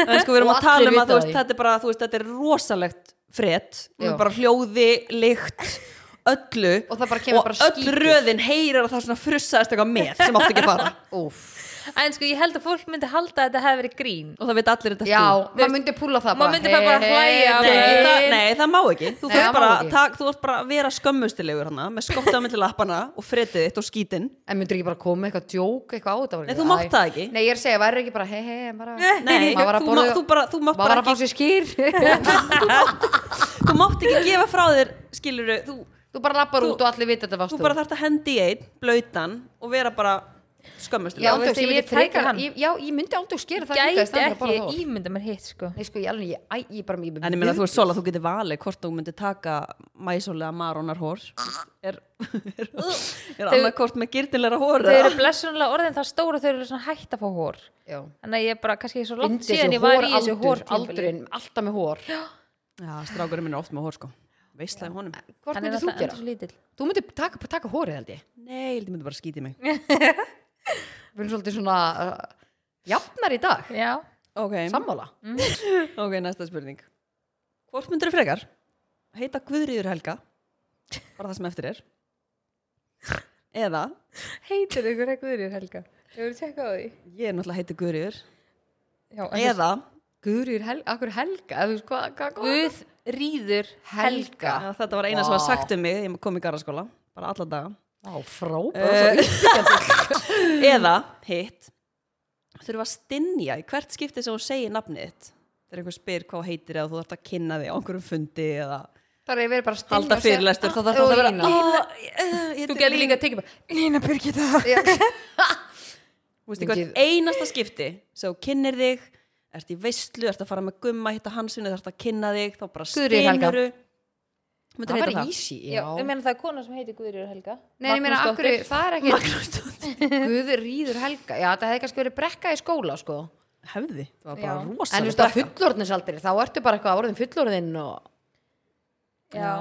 C: en sko við erum
A: Og
C: að tala
A: allir
C: um að
A: vita
C: þú veist,
A: því.
C: þetta er bara þú veist, þetta er rosalegt frett
A: Já.
C: bara hljóði, lykt öllu
A: Og það bara kemur
C: og
A: bara
C: öll
A: skítur.
C: röðin heyrir að það svona frussaðist eitthvað með sem átti ekki að fara
A: Úf.
B: En sko, ég held að fólk myndi halda að þetta hefði verið grín
C: og það veit allir þetta sko.
A: Já,
C: þú
A: maður myndi púla það bara.
B: Maður myndi bara bara hlæja
A: "Hey,
B: og bara-
C: Nei,
A: hey."
C: það, nei, það má ekki Þú
A: Nei,
C: þarft
A: það má
C: bara,
A: ekki.
C: tak, þú ert bara að vera skömmustilegur hana með skottið á milli lappana og fretið þitt og skítinn
A: En myndir ekki bara koma með eitthvað djók eitthvað á þetta? bara
C: Nei,
A: ekki,
C: þú mátt
A: æ.
C: það ekki.
A: Nei, ég er að segja, væri ekki bara hei, hei, bara...
C: Nei,
A: Maður var að
C: þú, má,
A: borða-
C: þú, bara, þú,
A: Maður
C: mátt
A: var
C: bara
A: að fá
C: ekki,
A: sér skýr.
C: þú mátt ekki gefa frá þér skiluru, þú,
A: Þú bara lappar
C: Þú-
A: út og allir vita þetta varst
C: þú bara þarft að hendi í einn blöytan og vera bara
A: Já,
C: skömmustilegur
A: ándjóks,
B: veist, ég
A: ég myndi
B: tæki
A: frekar...
B: hann.
A: ég- Já, ég myndi ándjóks gera það líka í
B: Gæti
A: staðinn fyrir að borða
B: ekki
A: það.
B: ímynda mér hitt, sko
A: Nei, sko, ég alveg, ég, æ, ég bara...
C: En ég meina þú er sola, þú getur valið hvort þú myndir taka mæsólega marónar hór er, er, er annað hvort með girtilegra hór
B: Þau
C: eða-
B: eru blessunlega orðin það stóra þau eru svona hætt að fá hór
A: Já.
B: Þannig að ég bara, kannski svo langt
A: Undir
B: síðan
A: þessu
B: ég var
A: hór
B: í þessu
A: aldur,
B: hór
A: aldurinn, alltaf með hór.
C: Já, strákurinn minn er oft með hór sko Veistlega honum
A: Hvort myndir þú gera? Þú myndir taka, taka hórið, held ég.
C: Nei, ég myndi bara skítið mig
A: Við erum svolítið svona uh, jafnar í
C: Mm.
A: dag.
B: Já,
C: okay.
A: Sammála.
C: Mm. Ok, næsta spurning Hvort myndur frekar? Heita Guðríður Helga bara það sem eftir er eða
B: heitir ykkur ekki þurrir helga Ég voru að tjekka á því
C: ég er náttúrulega heiti Guðríður
B: Já, en þú-
C: eða
A: Guðrýr, hel, akkur helga, þú veist hvað, hvað, hvað?
B: Guð rýður helga
A: Helga.
C: Já, þetta var eina sem var
A: Vá.
C: sagt um mig ég kom í garðaskóla, bara alla daga
A: Á, frábæð.
C: Eh, eða hitt þurfa að stinja í hvert skipti sem hún segir nafnið þitt þegar einhver spyr hvað þú heitir eða þú þarf að kynna þig á einhverjum fundi eða
A: Það er verið bara að
C: halda fyrirlestur þá þarf það að vera
A: Þú
C: "Ah, eh, ég heiti
B: Þú getur líka að tekja bara Lína Birgitta
C: Þú veist, í hvert
A: Mikið-
C: einasta skipti sem þú kynnir þig, ert í veistlu, ert að fara með gumma, hitta hansinu, ert að kynna þig, þá bara
A: Guðríður Helga.
C: steinuru. Myndir
A: Það
C: heita
A: var
C: það?
A: easy, já.
B: Já, ég meina það er kona sem heitir Guðrýður helga
A: Nei, ég meina, akkur,
B: Magnúsdóttir.
A: það er ekki Guðrýður helga. Já, það hefði kannski verið brekka í skóla, sko.
C: Hefði, það var bara
B: Já.
A: En þú
C: rosalega
A: veist, á fullorðnisaldri, þá ertu bara eitthvað orðin fullorðin og...
B: Já,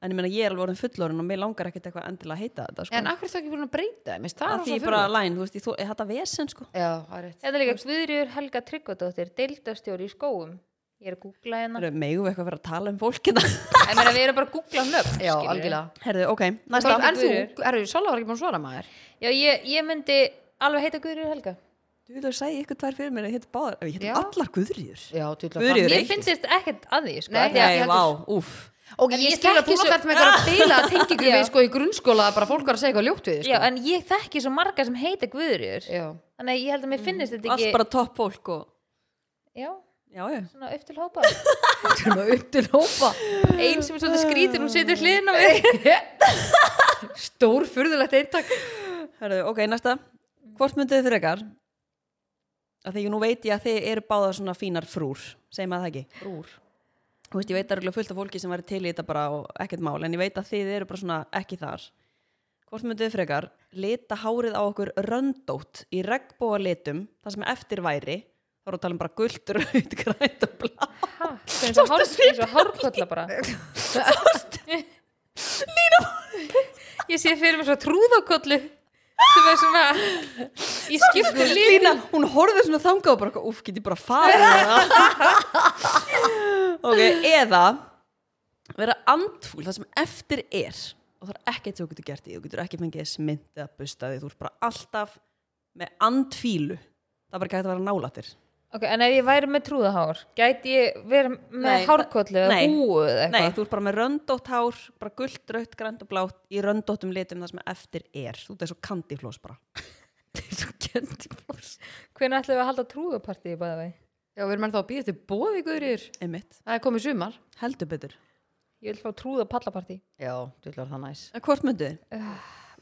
C: En ég meina, ég er alveg orðin fullorinn og mér langar ekkert eitthvað endilega að heita þetta, sko.
A: En akkur er það ekki búin að breyta, mér finnst það
C: Af
A: rosa
C: því ég er bara
A: furðulegt.
C: læn, þú veist, ég, þú, ég hætta vesen, sko.
A: Já, það er rétt.
B: Þetta er líka Guðrýður Helga Tryggvadóttir, deildastjóri í skóum. Ég er að googla hérna.
C: Það eru megum við eitthvað að vera að tala um fólk hérna.
B: En meina, við erum bara að googla nöfn,
A: Já,
B: skilurðu.
A: algjörlega.
C: Herðu, ok, næsta.
A: En þú,
B: Guðríður.
A: eru, Sola var ekki búin að svara maður.
B: Já, ég, ég myndi alveg heita Guðrýður Helga.
C: Þú þú segi ykkur tvær fyrir mér að ég heiti báðar, ég heiti
A: Já.
C: allar Guðríður.
A: Já, tjúlega.
C: Guðríður.
B: Mér
C: ekki.
B: finnst þetta ekkert að því, sko.
A: Nei,
B: af því að-
C: Nei,
A: ég
C: vá,
A: heldur-
C: úf.
A: Og ég,
B: En ég
A: ég skil að
B: þekki
A: þú
B: svo-
A: náttúrulega með eitthvað beila að tengingu
B: Já.
A: við sko í grunnskóla bara fólk var að segja eitthvað ljótt við þig,
B: Já,
A: sko.
B: en ég þekki svo marga sem heita Guðrýður.
A: Já. Mm,
B: Þannig að ég held að mér finnist þetta
C: Allt
B: ekki...
C: bara topp fólk og...
B: Já,
C: Já, já.
B: svona upp til hópa.
A: Svona upp til hópa
B: Einn sem er svolítið skrítin, hún setur hliðin á mig.
A: Stór furðulegt eintak
C: Herðu, ok, næsta. Hvort myndið þið frekar? Af því nú veit ég að þið eru báðar svona fínar frúr, segjum að það ekki.
A: Úr
C: Þú veist, ég veit að það eru fullt af fólki sem væri til í þetta bara og ekkert mál, en ég veit að þið eru bara svona ekki þar. Hvort myndið þið frekar? Lita hárið á okkur röndótt í regnbóa litum, það sem eftir væri, þá erum við að tala um bara gult, raut, grænt og blá.
B: Hæ, eins og hár- eins og hárkolla bara. Lína! Ég sé fyrir mér svo trúðakollu sem er svona í skiptu lína.
C: Lína, hún horfið svona þangað og bara, uff, get ég bara farið með það. ok, eða vera andfúl það sem eftir er og það er ekkert sem þú getur gert í, þú getur ekki fengið smynd eða bustaði, þú ert bara alltaf með andfílu það er bara ekki hægt að vera nálatir
B: Ok, en ef ég væri með trúðahár, gæti ég verið með
C: Nei,
B: hárkollu eða
C: nei.
B: húu eða
C: Nei,
B: eitthvað?
C: þú ert bara með röndótt hár, bara gult, raut, grænt og blátt í röndóttum litum það sem eftir er þú ert eins og kandiflós bara
A: Svo kendi flós
B: Hvernig ætlum við að halda trúðapartíði bæða vei?
A: Já, við erum ennþá að býja til bóði, Guðrýr
C: einmitt,
A: Það er komið sumar
C: heldur betur
B: Ég vil fá trúð og pallapartí
A: já, þú ætlar það næs
C: En hvort myndu þið?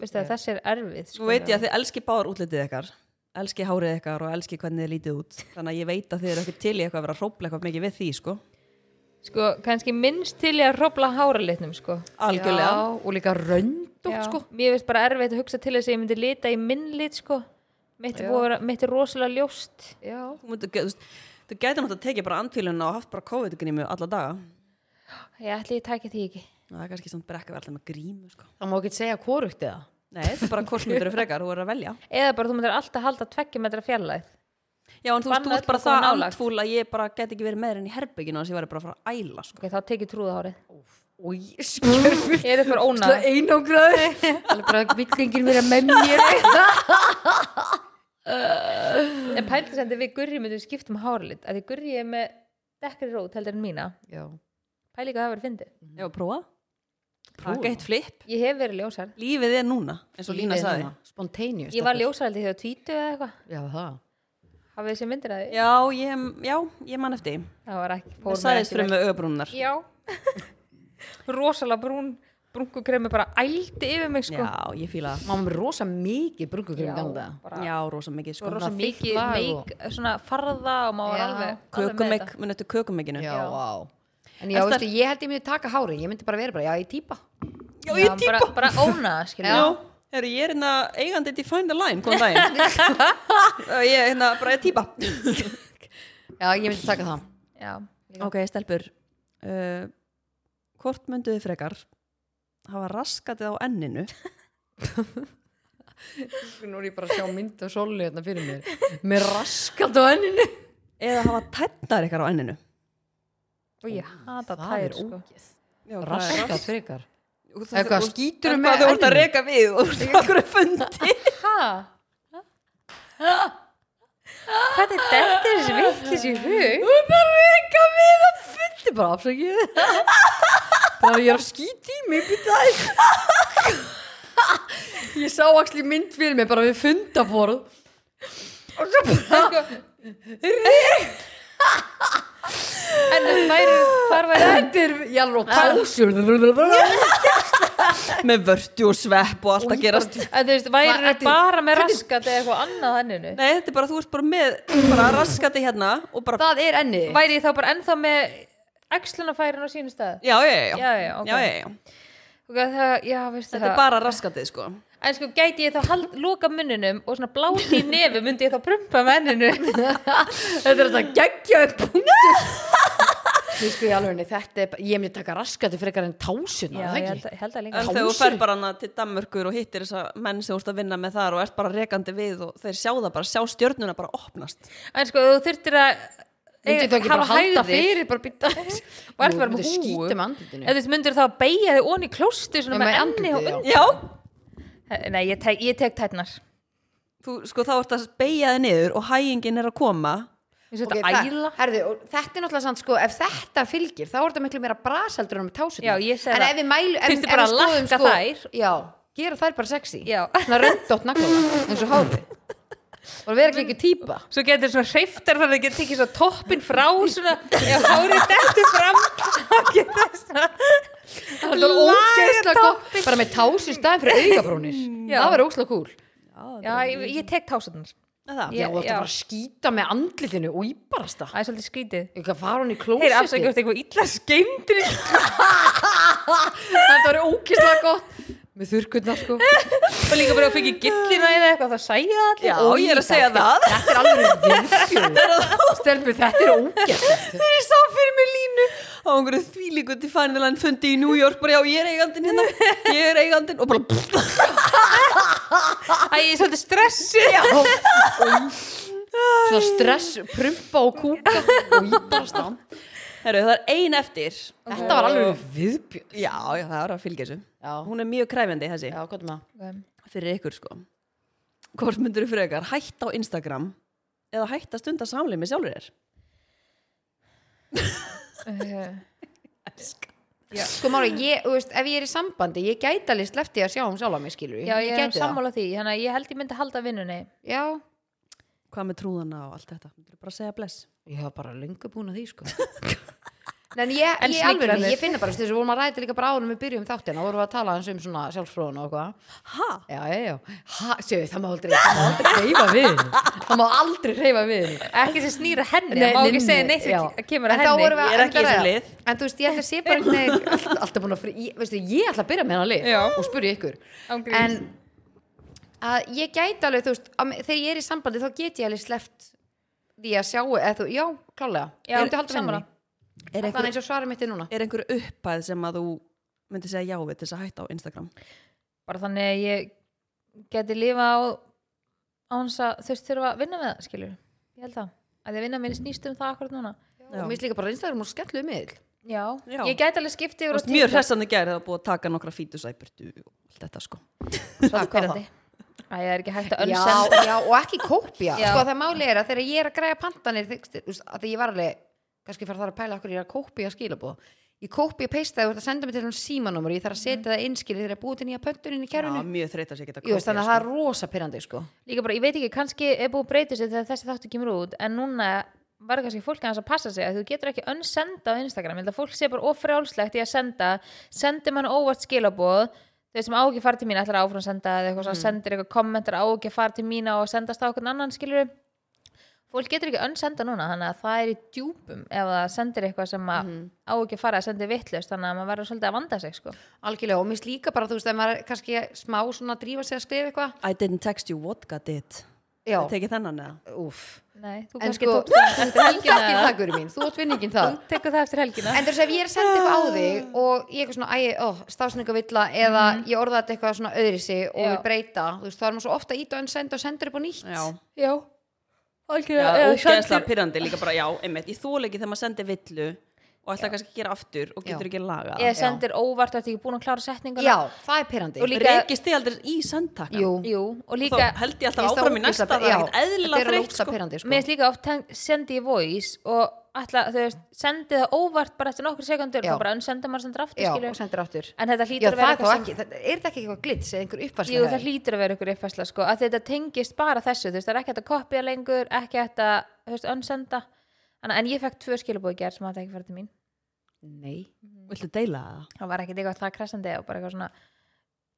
B: Veistu að þessi er erfið sko.
C: Svo veit ég að þið elski báðar útlitið ykkar elski hárið ykkar og elski hvernig þið lítið út þannig að ég veit að þið eru ekkert til í eitthvað að vera að hrópla eitthvað mikið við því sko
B: Sko, kannski minnst til ég að hrópla háralitnum, sko
C: algjörlega,
A: já, og líka röndótt
B: Já.
A: sko
B: Mér finnst bara erfitt að hugsa til þess að ég myndi lita í minn lit, sko Mitt, er búið að vera- mitt er rosalega ljóst
A: já,
C: þú, myndir, þú, veist, þú gæti náttúrulega að tekið bara andfílunna og haft bara COVID-grímu alla daga
B: Ég ætli ég taki því ekki
C: það er kannski samt bara ekki að vera alltaf með grímu sko.
A: það má ekki segja korugt eða
C: nei, þetta er bara hvort myndir þið frekar, þú er að velja
B: Eða bara þú myndir alltaf halda tveggja metra fjarlæð
C: já, en þú veist,
B: Banna
C: þú ert bara
B: öllum að
C: það
B: koma nálægt.
C: andfúl að ég bara gæti ekki verið með þér inn í herbygginu þess að ég væri bara að fara að æla sko.
B: Ok, þá tekið trúðahárið
A: og ég skjörfi
B: Ég er upp fyrir ónað
A: einangraður alveg bara villingin vera með mér
B: En pældi sem þetta við Gurri myndum skipta um hárlit að því Gurri er með dekkri rót heldur en mína
A: já,
B: Pæli hvað það verið fyndi
C: ég var að prófa það er geitt flip,
B: Ég hef verið ljósar
C: lífið er núna eins og Lína sagði
A: spontaneous
B: Ég var
A: þetta.
B: ljósar heldur þegar tvítu eða eitthvað
A: já, það
B: Hafið þessi myndir að því?
C: já, ég, já, ég man eftir því.
B: Það var ekki
C: það
B: fór mér
C: sagðist
B: ekki vel.
C: fyrir með öðbrúnar
B: Já Rosalega brún brúnkukremi bara ældi yfir mig sko
C: já, ég fíla það
A: maður með rosa mikið brungugrinn ganga
B: bara
C: já, rosa mikið
B: Svo
C: sko.
B: rosa
A: þykkt
B: mikið
A: lag og-
B: meik, svona farða og maður
A: Já.
B: var alveg, alveg með
C: kökumegg,
B: þetta.
C: mun eftir kökumeginu
A: já, já.
C: já,
A: en já,
C: En
A: veistu, ég held ég myndi taka hári ég myndi bara vera bara, já, ég týpa
B: Já, bara, bara óna það skilja
C: Já, herru, ég er hérna eigandi til Find a Line, góðan daginn Og Ég er hérna bara að týpa
A: já, ég myndi taka það
B: Já.
C: Ok, stelpur uh, Hvort mynduðu frekar hafa raskatið á enninu
A: nú er ég bara að sjá mynd og soli hérna fyrir mér með raskat á enninu
C: eða hafa tætnar ykkar á enninu
B: Og ég hata
A: það
B: tær
A: er
B: sko
A: ógeð
C: Já,
A: raskat frekar
C: Það
A: eitthvað skýtur
C: er
A: með
C: hvað þú ert að
A: enninu?
C: reka við og þú ert okkur að fundi
B: Hæ? Hvernig dettir þessi vitlis í hug?
A: hún er að reyka við að fundi bara afsakið bara ég er að skýti í mig býta það ég sá axli mynd fyrir mig bara við fundaborð og svo
B: Sko,
A: bara
B: En væri, hvar væri það?
A: þetta er ég alveg á tásur það
C: Með vörtu og svepp og allt að gerast
B: En þú veist, væri
A: Hvað,
B: það
A: ætti-
B: bara með raskat eða eitthvað annað henninu?
C: Nei, þetta er bara, þú ert bara með bara raskatið hérna og bara
A: er enni
B: Væri ég þá bara ennþá með æxlunafærin á sínum stað?
C: Já, já, já,
B: Já, já, ok.
C: já, já, já.
B: Og það, já, veistu
C: Þetta er
B: það
C: bara raskatið sko
B: En sko, gæti ég þá hald, loka munninum og svona bláti í nefi, myndi ég þá prumpa með henninu
A: þetta er þetta geggjaði punktu Nei, sko, ég alveg, nei, þetta er, bara- ég myndi taka raskati frekar en tásuna,
B: Já,
A: er það
B: ég
A: ekki?
B: held, ég held að
C: En
B: líka
A: Kásir.
C: þegar þú fer bara hana til Danmörkur og hittir þessa menn sem þú ert að vinna með þar og ert bara rekandi við og þeir sjá það bara, sjá stjörnuna bara opnast.
B: En sko, þú þurftir að
A: Myndi þú ekki bara halda fyrir, bara býta
B: og ert bara með húu
A: Skýti með andlutinu
B: eða þú veist, myndir þá að beigja þig onni klóstu svona
A: Nei,
B: með
A: með
B: enni og
A: andlitið,
B: undir
C: Já,
B: nei, ég tek, ég tek tætnar
C: þú, sko þá ert að beigja þig niður og hægingin er að koma.
B: eins og
A: Ok,
B: þetta æla
A: það- herðu, og þetta er náttúrulega sant sko, ef þetta fylgir þá er þetta miklu meira braseldur með tásutna
B: Já, ég segi
A: en
B: það.
A: ef við mælu en,
B: Þyrfti bara
A: ef við
B: að
A: skoðum, sko-
B: lakka þær.
A: já, gera þær bara sexy
B: Já.
A: svona röndótt nagla eins og hári og vera ekki ekki típa
B: svo getur svona hreiftar þannig að getur tekið svona toppin frá svona ef hárið dettur fram þá getur svona
A: það er ógeðslega gott bara með tásu í staðin fyrir augabrúnir
B: Já.
A: það verður ógeðslega kúl
B: já, ég, ég tek tásunar
C: Er það?
A: já,
B: Ég-
A: og þetta
B: já.
A: bara að skýta með andlitinu og íbarast það
B: það er svolítið skrítið
A: Ég kann fara hún í
B: Heyr,
A: klósetti
B: afsakið, þú ert eitthvað illa skeimdur í-
A: Þetta var ógeðslega gott Með þurrkurnar sko
B: og líka bara að fengi gillina eða eitthvað, það sæja allir
C: Já, ég er að segja það.
A: Þetta er alveg viðfjörð Stelmi, þetta er ógeðslegt
C: Þegar ég sá fyrir mig línu á einhverju þvílíku til fænilegan fundi í New York, bara já, ég er eigandin hérna, ég er eigandin og bara pff,
B: Æ, ég er svolítið stressi
A: Svona stress, prumpa og kúka og íbarast á
C: herru, það er ein eftir.
A: Þetta var alveg viðbjörn
C: Já, já, það er að fylgja þessu.
A: Já,
C: Hún er mjög kræfjandi þessi.
A: já, gott með
C: fyrir ykkur sko hvort myndur þú frekar hætta á Instagram eða hætta að stunda samlið með sjálfur þér
B: Eh,
A: Sko Mári, ég, þú veist, ef ég er í sambandi ég gæti alveg slefti að sjá um sjálf að mig skilur
B: já, ég er
A: gæti um það.
B: sammála því þannig að ég held ég myndi halda vinnunni
A: Já,
C: hvað með trúðana og allt þetta myndur þú bara segja bless
A: ég hef bara löngu búin að því sko Nei, en ég,
B: En
A: ég, alveg,
B: smyglarnir.
A: ég finna bara, þess að við vorum að ræta líka bara árum við byrjum þáttina, þá vorum við að tala eins um svona sjálfsfróðun og eitthvað.
C: ha?
A: Já, já, já. Ha, séu, það má aldrei, það má aldrei reyfa við. henni. Það má aldrei reyfa við. henni.
B: ekki sem snýra henni, nei, má ekki segja neitt
A: já.
B: sem
A: En
B: kemur að
A: þá
B: henni
A: vorum við
C: Ég
A: að-
C: er ekki í þessu
A: ræða.
C: lið.
A: En þú veist, ég ætla að sé bara einhvern veginn allt- Alltaf búin að fyrir, ég, veistu, ég ætla að byrja með hennar lið
B: Já.
A: Og spyrja ykkur
B: Ángríns.
A: En að ég gæti alveg, þú veist að, Þegar ég er í sambandi þá get ég alveg sleppt Því að sjá, eða þú, já, klálega
B: Já,
A: Ég myndi halda með
B: sammála.
A: henni Þannig eins og svarið mitt er núna
C: Er einhver upphæð sem að þú myndi segja já við til þess að hætta á Instagram?
B: bara þannig að ég geti lifa á áns að þau þurfa að vinna með það skilur, ég held það að því að vinna með snýst um það akkurat núna
A: Og mér finnst líka bara Instagram og skellu um miðl
B: já,
C: Já.
B: ég gæti alveg skipti yfir á
C: Varst mjög
B: TikTok.
C: hressandi gær það búið að taka nokkra fítusæpurtu og allt þetta sko.
B: Svolítið pirrandi. Æ, það er ekki hægt að
A: já,
B: önsend
A: já, og ekki kópja
B: Já.
A: Sko það máli er að þegar ég er að græja pantanir Þegar ég var alveg kannski fara þar að pæla okkur ég er að kópja skilabóð Ég kópja peista þegar þú ert að senda mig til hún símanúmer Ég þarf að
B: Mm.
A: setja það innskilið þegar ég er búið til nýja pöntunin í
C: Já,
A: kerfinu
C: mjög þreytt að sé geta
A: Jú, veist, þannig að það er rosa pyrrandi sko.
B: líka bara, ég veit ekki, kannski er búið að breyta sig þegar þessi þáttu kemur út, en núna var kannski fólk aðeins að passa sig að þú getur ekki önsenda á Instagram, ég held að fólk sé bara ofrjálslegt í að senda, sendir mann óvart skilaboð, þau sem á ekki að fara til mín ætlar áfram að senda eða eitthvað
A: Mm.
B: svona, sendir eitthvað kommentar á ekki að fara til mín og sendast á okkur annan skilur fólk getur ekki önsenda núna, þannig að það er í djúpum ef það sendir eitthvað sem að
A: Mhm.
B: á ekki að fara að senda vittlust, þannig að maður verður svolítið að vanda sig sko.
A: algjörlega og mér finnst líka bara, þú veist, að maður er kannski smá svona að drífa sig að skrifa eitthvað
C: I didn't text you, what got it?
A: Já,
C: Það tekið þennan eða?
A: úf
B: Nei, þú
A: En
B: kannski
A: sko, þú
B: tókst það
A: ert
B: eftir
A: ekki
B: helgina eða?
A: það, guri mín, þú ert vinningin það
B: Þú tekur það eftir helgina
A: En þess að ef ég er að senda eitthvað á
B: Ah.
A: þig og ég er eitthvað svona, æ, ó, stafsningavilla eða ég orða þetta eitthvað svona öðri sig og
B: Mhm. Já.
A: við breyta, þú veist, þá er maður svo ofta ít og enn senda og sendur upp á nýtt
C: Já.
B: Já,
C: Já,
B: algjörlega eða
C: ógeðslega
B: sendir-
C: pyrrandi líka bara, já, einmitt, ég þól ekki þegar maður sendir villu og ætlar kannski að gera aftur og getur
A: Já.
C: ekki lagað.
B: Eða sendir óvart að því ekki búin að klára setninguna
A: Já, það er pyrrandi
B: Og líka-
C: Reykist þið aldrei í sendtakkan?
A: Jú,
B: Jú, og
C: Þá
B: líka
C: held ég alltaf áfram í næsta, það er ekkert eðlilega þreytt
A: sko.
C: sko.
A: pyrrandi, sko.
B: Mér finnst líka oft teng- sendi ég voice og alltaf, þú veist, sendi það óvart bara eftir nokkur sekundur
A: Já.
B: og bara unnsenda maður sendur aftur
A: Já,
B: skilur.
A: og sendir aftur
B: En þetta
A: Já,
B: hlýtur að
A: það
B: vera
A: er þá
B: eitthvað sem
A: ekki, það, er það ekki eitthvað glits eða einhver uppfærslega
B: Jú, það hlýtur að vera ykkur uppfærsla sko, að þetta tengist bara þessu, þú veist, það er ekki hægt að kopja lengur, ekki hægt að, þú veist, önsenda. Þannig að- En ég fekk tvö skilabóð í gerð sem þetta ekki farið til mín.
A: Nei,
C: Viltu deila það?
B: það var ekkert eitthvað það kressandi og bara eitthvað svona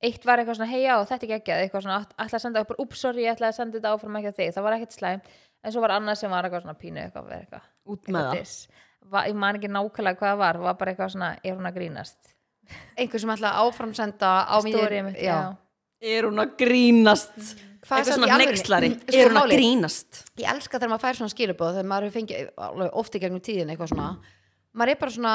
B: eitt var eitthvað svona heja og þetta ekki ekki eitthvað svona alltaf að senda upp bara ups sorry ég ætlaði að senda þetta áfram ekki að þig það var ekkert slæm en svo var annað sem var eitthvað svona pínu eitthvað verið eitthvað
C: Út með
B: eitthvað
C: það.
B: diss. Va, ég man ekki nákvæmlega hvað það var það var bara eitthvað svona er hún að grínast
A: einhver sem ætla að áframsenda á
B: stórið mitt já.
C: Er hún að grínast?
A: Hvað
C: Eitthvað
A: samt í
C: svona
A: alvörunni?
C: neykslari.
A: Sko,
C: Er hún að
A: málið-
C: grínast?
A: ég elska þegar maður fær svona skilabóð þegar maður hefur fengið alveg oft í gegnum tíðin eitthvað svona maður er bara svona,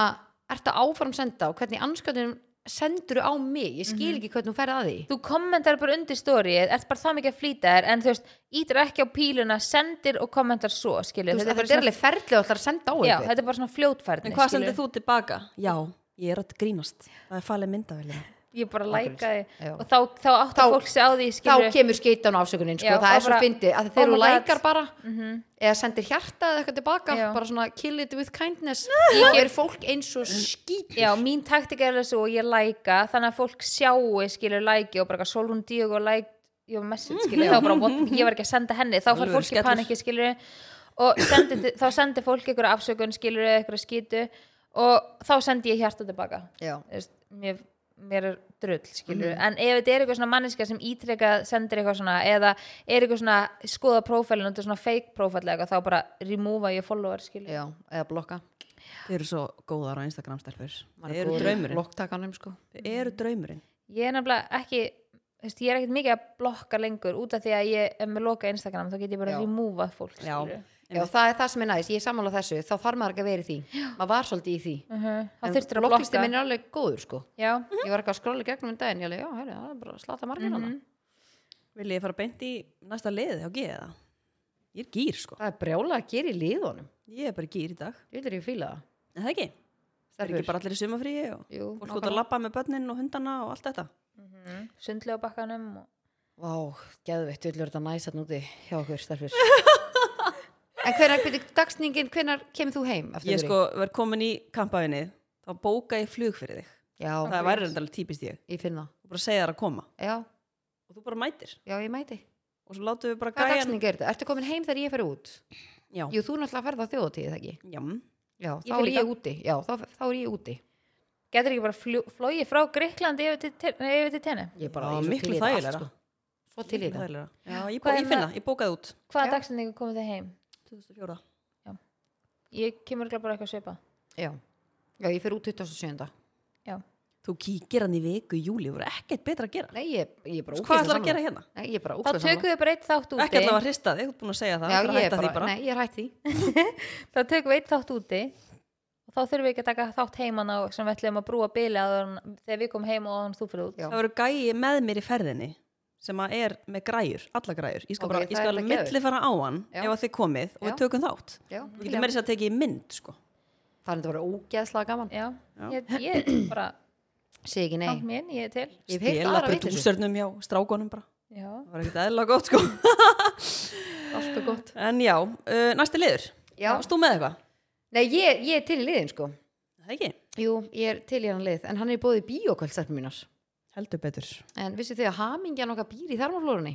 A: ert að áfram senda og hvernig anskotunum sendur á mig ég skil ekki hvernig hún færði að því
B: Mhm. þú kommentar bara undir stórið ert bara það mikið að flýta þér en þú veist ítir ekki á píluna sendir og kommentar svo skilur
A: þú veist, þetta
B: þetta er
A: er
B: bara
A: alveg ferðlega að senda á
B: svona, já,
A: einhvern.
B: þetta er bara svona fljótfærni
C: En hvað
B: skilurðu.
C: sendir þú tilbaka? Já, ég er að grínast. Það er falið myndavælið.
B: ég bara lækaði
A: Já.
B: og þá, þá átti
A: Þá-
B: fólk sig á því
A: þá
B: skilur
A: kemur skeitan á afsökunin sko.
B: Já,
A: það
B: og
A: er svo
B: bara,
A: fyndið, að
B: oh
A: þegar þú
B: my God.
A: lækar bara eða sendir hjarta eða eitthvað tilbaka
B: Já.
A: bara svona kill it with kindness ég ger fólk eins og skít
B: Já, mín taktik er þessu og ég læka þannig að fólk sjáu, skilur læki og bara eitthvað Solrún Díog og læk your message, skilur, þá bara, what, ég var ekki að senda henni þá fær
C: Alvöru
B: fólk í
C: skellur.
B: paniki, skilur og sendi, þá sendi fólk ykkur afsökun, skilur, ykkur skýtu og þá sendi ég hjarta tilbaka
A: Já.
B: Þú veist, mér, mér er drull, skilur en ef þetta er eitthvað svona manneska sem ítrekað sendir eitthvað svona, eða er eitthvað svona skoða prófælin og þetta er svona fake prófæl eitthvað, þá bara remova ég follower, skilur
A: Já, eða blokka
C: Þið eru svo góðar á Instagram stelpur. Þið eru draumurinn.
A: blokktakanum sko.
C: Þið eru draumurinn.
B: ég er nefnilega ekki þú veist, ég er ekkert mikið að blokka lengur út af því að ég er með loka Instagram þá get ég bara
A: Já.
B: removað fólk
C: Já.
B: skilurðu.
A: Já, það er það sem er næst, ég er sammála þessu þá þarf maður ekki að vera í því, maður var svolítið í því
B: Mhm. þá
A: En
B: þurftur að
A: blokklisti
B: blokka
A: minn er alveg góður sko
B: já,
A: ég var eitthvað að skróla í gegnum en daginn ég alveg, já, herri, það er bara að slata margir hana
C: Vil ég fara beint í næsta liðið hjá G eða? Ég er gýr sko.
A: það er brjála að gera í liðunum
C: Ég er bara gýr í dag.
A: ég vil er ég fíla það
C: En það ekki? Það er
A: Stelpur.
C: ekki bara allir í sumafríi og
A: Jú,
C: fólk út að labba með börnin og hundana og allt þetta.
A: Mhm.
B: sundlega bakkanum og...
A: vá, geðveitt, við erum þetta næs að núti hjá okkur starfur en hvenar, byrju, dagsningin hvenar kemur þú heim? eftir
C: Ég
A: Vigri?
C: sko verð komin í kampaðinni, þá bóka ég flug fyrir þig.
A: já,
C: Það væri reyndar alveg típist ég.
A: ég finn það,
C: Þú bara segir þær að koma
A: já,
C: og þú bara mætir.
A: já, ég mæti
C: Og svo látum við bara
A: hvað
C: gæjan.
A: dagsning er þetta? Ertu komin heim þegar ég fer út?
C: Já.
A: Jú, þú náttúrulega ferð á þjóðatíð, ekki?
C: Jam.
A: já, þá
B: fer
A: er
B: líka.
A: ég úti já, þá, þá er ég úti
B: Getur ekki bara fljú- flogið frá Gríklandi yfir til, til, nei, yfir til tenni?
A: ég er bara
C: Já,
A: ég er svo
C: miklu
A: til í þetta allt,
C: þægilegra.
A: sko. svo til í
C: Miklu
A: þetta
C: þægilegra. Já, ég,
B: Hvað
C: bó,
B: er
C: ég finna,
B: það?
C: ég bókaði út
B: Hvaða dagstendingu komið þið heim?
C: 2004
B: Ég kemur ekki bara eitthvað svipa.
A: já. já, ég fer út 27.
B: Já.
C: Þú kíkir hann í viku í júli, voru ekkert betra að gera
A: nei, ég, ég er bara
C: Hvað ætlar að
A: ógeðslega
C: gera
A: sammála.
C: hérna?
A: Nei, ég er bara
B: Þá
A: ógeðslega
B: tökum við bara eitt þátt úti.
C: Ekki allavega að hrista þig, þú ert búin að segja það
A: Já,
C: þú ætlar að
A: ég er
C: hætta því
A: bara, nei, ég er hætt því
B: Þá tökum við eitt þátt úti og þá þurfum við ekki að taka þátt heiman á sem við ætlum að brúa bili áður en- þegar við komum heim og áður en þú fyrir út.
A: Já.
C: Það verður gæi með mér í ferðinni sem að er með græjur, alla græjur Ég
A: Ok,
C: skal bara,
A: það
C: ég
A: er
C: skal
A: þetta geðveikt.
C: milli fara á hann
A: Já.
C: ef að þið komið og við
A: Já.
C: tökum þátt
A: Já,
C: Ég getur meira þess að tekið í mynd, sko
A: það er þetta bara ógeðslega gaman
B: Já.
C: Já.
B: Ég, ég bara,
A: segi ekki nei
B: langt minn, ég er til.
A: Ég hef heilt
C: Stela
A: aðra
C: bara
A: vitleysu.
C: dúsörnum hjá strákonum bara
B: Já.
C: Það var ekkert eðla gott, sko
A: Allt og gott.
C: En já, uh, næsti liður
A: Já.
C: Varst þú með eitthvað?
A: Nei, ég, ég er til í liðin sko
C: Það ekki?
A: Jú, ég er til í hann lið En hann er búið í bíókvöldstættum mínar
C: Heldur betur
A: En vissu þið að hamingjan okkar býr í þarmaflórunni?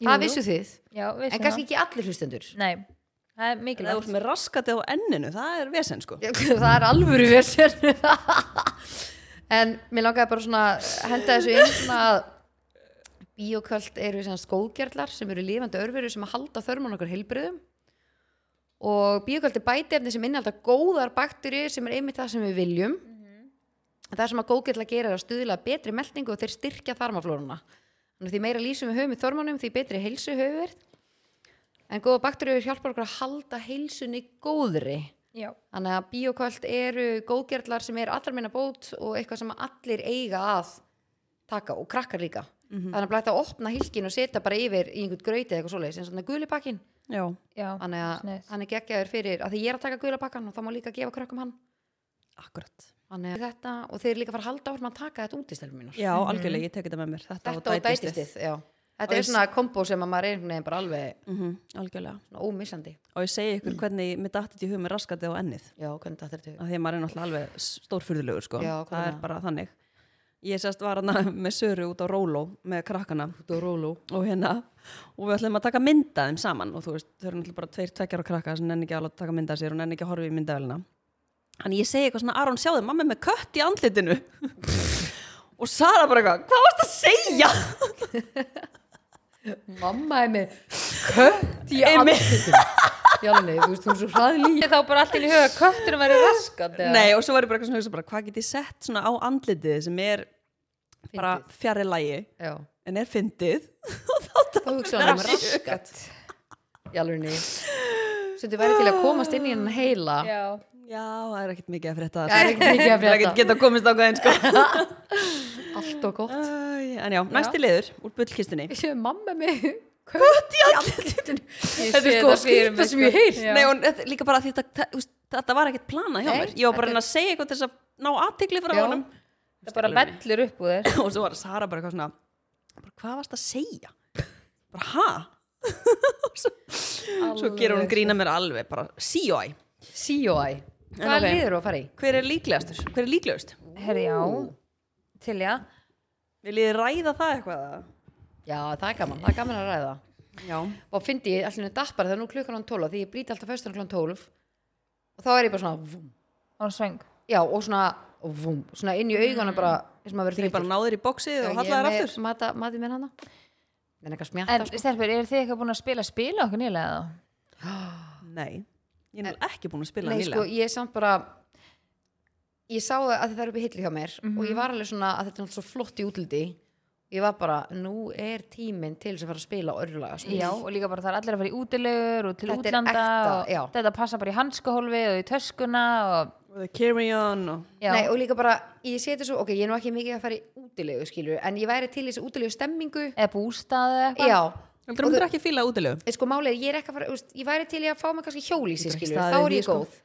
B: Jú,
A: Það
B: jú.
A: vissu þið
B: Já, við
A: En kannski ekki allir hlustendur
B: Nei, það er
C: Það er
B: mikilvægt.
C: með raskati á enninu, það er vesen, sko
A: Það er alvöru versjör En mér langaði bara svona að henda þessu inn svona að bíókvöld eru sem skóðgerlar sem eru lifandi örveru sem að halda þörmun okkur heilbriðum og bíókvöld er bætiefni sem innhalda góðar bakterjur sem er einmitt það sem við viljum það sem að góðgerla gera er að stuðla að betri meldingu og þeir styrkja þarmaflóruna Þannig að því meira lýsum við höfum í þörmunum því betri heilsu höfum við en góða bakterjur hjálpar okkur að halda heilsunni góðri
B: Já.
A: Þannig að bíoköld eru góðgerðlar sem er allar minna bót og eitthvað sem allir eiga að taka og krakkar líka. Þannig að bara hægt að opna hilkin og setja bara yfir í einhvern gröyti eða eitthvað svoleiðis eins og þannig gulipakkin.
C: Já
B: Já.
A: Þannig að
B: Sniðugt.
A: hann er geggjaður fyrir að því ég er að taka gulipakkan og þá má líka gefa krökkum hann.
C: Akkurat
A: Þannig að þetta og þeir líka fara að halda áfram að taka þetta út í stelum mínar.
C: Já, algjörlega, ég tek þetta með mér Þetta,
A: Mhm. Þetta og
C: dætistið.
A: dætistið, já. Þetta er svona kombo sem að maður er einhvern veginn bara alveg
C: Mhm, Algjörlega
A: svona ómissandi.
C: og ég segi
A: Mm.
C: ykkur hvernig mér datt þetta í hug með raskandi á ennið
A: Já, hvernig þetta er til.
C: af því að maður er náttúrulega alveg stórfyrðulegur sko.
A: Já, hvað
C: það
A: er
C: er
A: það?
C: bara þannig ég sérst var hana með Söru út á Róló með krakkana
A: Dóróló.
C: og hérna og við ætlum að taka mynda þeim saman og þú veist, þau eru náttúrulega bara tveir tveggjara krakka sem nenni ekki alveg að taka mynda sér og nenni ekki að horfa í myndavælina en ég segi eitthvað svona Aron sjáðu, mamma er með kött í andlitinu og Sara bara eitthvað hvað varst að segja?
A: Mamma er með kött í
C: Einmitt.
A: andlutum. Já, nei, þú veist, hún er svo hraðlí
B: Ég þá bara allt inn í huga að kötturum væri raskat
C: Nei, og svo var ég bara eitthvað svona, að hugsa bara, hvað get ég sett svona á andlitið sem er bara fjarri lægi
A: Já,
C: en er fyndið
A: þá hugsaði hann um raskat í alvegni Svo þetta væri til að komast inn í hennan heila
B: Já,
C: Já, það er ekkert mikið að frétta
A: Það er ekki mikið að
C: Það er ekkert
A: frétta
C: geta komist á gæðin sko
A: Allt og gott
C: Æ, En já, næsti liður úr bullkistunni
A: Ég sé mamma með kött í andlutinu Þetta
B: sé
A: er sko
B: þetta fyrir
A: skýrta
B: mig,
A: sem
B: sko.
A: ég heilt
B: Já.
C: Nei, og þetta, líka bara því þetta, þetta, þetta var ekkert planað hjá
A: Nei,
C: mér Ég var
A: þetta
C: bara að reyna að segja eitthvað til þess að ná aðtikli frá
A: Já.
C: honum
B: það bara vellur upp úr þér
C: Og svo var Sara bara eitthvað svona bara, Hvað varst að segja? Bara, ha? Og svo, svo gerur hún grína mér alveg bara, COI
A: COI Hvað
C: ok.
A: okay. liður að fara í?
C: Hver er líklegastur? Hver er líklegust?
B: Herri, já, til já
C: Viljið þið ræða það eitthvað? eða?
A: Já, það er gaman, það er gaman að ræða
C: Já
A: Og fyndi ég allir datt bara þegar nú klukkan án 12 af Því ég brýti alltaf föstunum klukkan 12 Og þá er ég bara svona vum,
B: Og hún svöng
A: Já, og svona vum, Svona inn í augunum bara eins og maður verið
C: Þegar ég bara náður í bóksið og
A: ég er
C: hallar
A: með
C: aftur
A: mata- matið minn hana en eitthvað smjata
B: En stelpur, eru þið eitthvað búin að spila spila okkur nýlega þá?
C: Nei, ég er ekki búin að spila
A: Nei,
C: nýlega
A: sko, ég er samt bara ég sá það að það er upp í hillu hjá mér og
C: Mhm.
A: ég var alveg svona að þetta er alltaf svo flott í útliti ég var bara, nú er tíminn til þess að fara að spila sko. örlaga
B: Já, og líka bara það er allir að fara í útilegur og til
A: Þetta er
B: útlanda
A: ekta, já.
B: og þetta passa bara í hanskahólfi og í töskuna og
C: og the carry on og
B: já,
A: Nei, og líka bara, ég seti svo, ok, ég er nú ekki mikið að fara í útilegu skilur, en ég væri til í þessi útilegu stemmingu
B: eða bústaði eða eitthvað
A: Já,
C: Heldur hún er ekki að fíla útilegu?
A: en sko málið, er, ég er ekki að fara, úst, ég væri til í að fá mig kannski hjólísi
C: Getur ekki
A: skilur,
C: staðið
A: þá
C: við
A: er ég
C: því, sko.
A: góð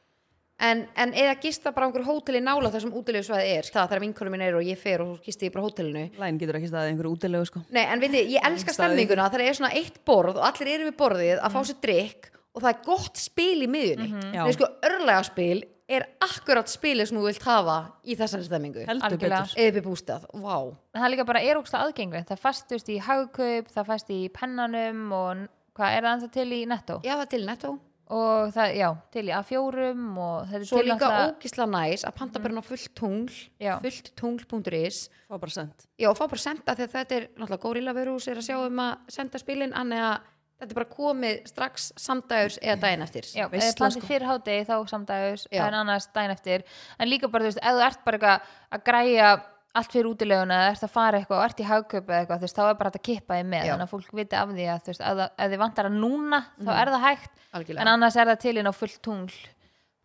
A: en, en eða gista bara á einhverju hóteli nála þar sem útilegu svæði er, sko, það þar vinkonum minn er og ég fer og gisti ég bara á hótelinu
C: Læn getur ekki staðið einhverju útilegu sko
A: Nei, en veitir, ég elska stemminguna þegar er svona eitt borð og allir eru við borðið að fá
B: Mhm.
A: sér drikk og það er gott spil í miðjunni. Mm
C: Já.
A: Nei, sko, örlega spil er akkurat spilið sem þú vilt hafa í þessari stemmingu.
C: Heldur
B: Algjörlega.
C: betur
A: Eða upp í bústað, vá.
B: En það er líka bara er ógsta aðgengilegt það fæst þú veist, í hagkaup, það fæst í pennanum og n- hvað er það ennþá til í netto?
A: Já, það er til netto.
B: og það, já, til í A4 og þetta er
A: Svo
B: til
A: líka
B: náttúrulega- Mhm.
A: ógisla næs að panta bara inn á fullt tungl,
B: Já.
A: fullt tungl.is
C: Fá bara sent.
A: Já, og fá bara senda þegar þetta er náttúrulega Gorilla Verus er að sjá um að senda spilin annað að þetta er bara komið strax samdægurs eða daginn eftir sko,
B: Já, eða
C: Veisla,
B: plantið fyrir hádegi þá samdægus
A: Já.
B: en annars dæn eftir en líka bara, þú veist, ef þú ert bara eitthvað að græja allt fyrir útileguna eða ert að fara eitthvað og ert í hagkaup eða eitthvað, þú veist, þá er bara hægt að kippa þið með
A: Já.
B: þannig að fólk viti af því að, þú veist, ef, það- ef þið vantar að núna þá
A: Mhm.
B: er það hægt,
A: Algjörlega.
B: en annars er það til inn á fullt tungl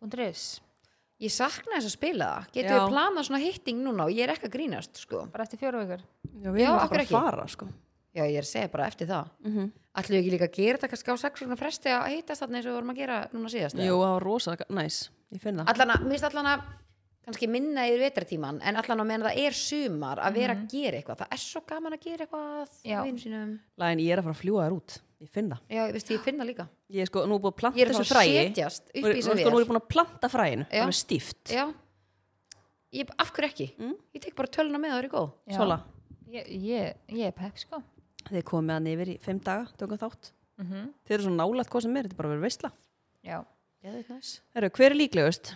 B: .is,
A: Ég sakna þess að spila það, getur
C: Já.
A: við planað svona hitting núna og ég er ekki að grínast sko
B: bara eftir fjóru vikur
C: Já, við
A: Já,
C: erum alltaf
A: okkur
C: bara
A: ekki.
C: að fara, sko.
A: Já, ég er að segja bara eftir það
C: Mm -hmm.
A: Ætlum við ekki líka að gera þetta kannski á sex svona fresti að hittast þarna eins og við vorum að gera núna síðast eða?
C: Jú, það var rosa næs. Ég finn það.
A: allan að, mér finnst allan að kannski minna í vetratíman en allan að menna það er sumar að vera að gera eitthvað það er svo gaman að gera eitthvað
B: Já.
A: með vinum sínum.
C: Læn, ég er að fara að fljúa þér út. Ég finn það.
A: já, ég veist, ég finn það líka
C: Ég er sko, nú er búin að planta
A: ég er að
C: þessu
A: fara að
C: fræi.
A: setjast
C: Nú
A: upp í
C: er-
A: þessum
C: nú er sko, nú er
A: vél
C: ég búin að planta fræinu.
A: Já.
C: Það er stíft.
A: já, ég, af hverju ekki ég tek bara töluna með það er í góð
B: Já.
C: Svola.
B: ég, ég, ég er pepp, sko
C: Þið komið með hann yfir í fimm daga, tökum þátt.
B: Mhm.
C: Þið eru svo nálægt hvað sem er, þetta er bara að vera veistla.
B: já,
A: já, þetta er næs
C: Heru, hver er líklegust?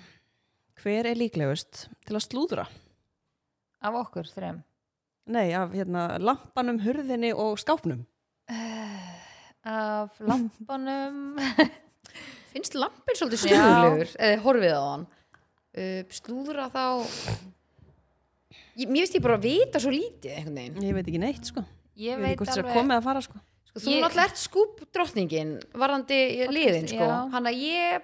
C: Hver er líklegust til að slúðra?
B: af okkur þrem
C: Nei, af hérna, lampanum, hurðinni og skápnum.
B: af lampanum
A: finnst lampin svolítið slúðulegur eða horfið á hann uh, slúðra þá ég, mér finnst ég bara að vita svo lítið einhvern veginn
C: Ég veit ekki neitt, sko. Ég
B: ég
C: veit
B: veit
C: ekki hvort það er að
B: alveg
C: koma eða fara, sko.
A: sko, þú
B: Ég-
A: náttúrulega ert skúp drottningin varðandi liðin sko
B: já.
A: hann að ég,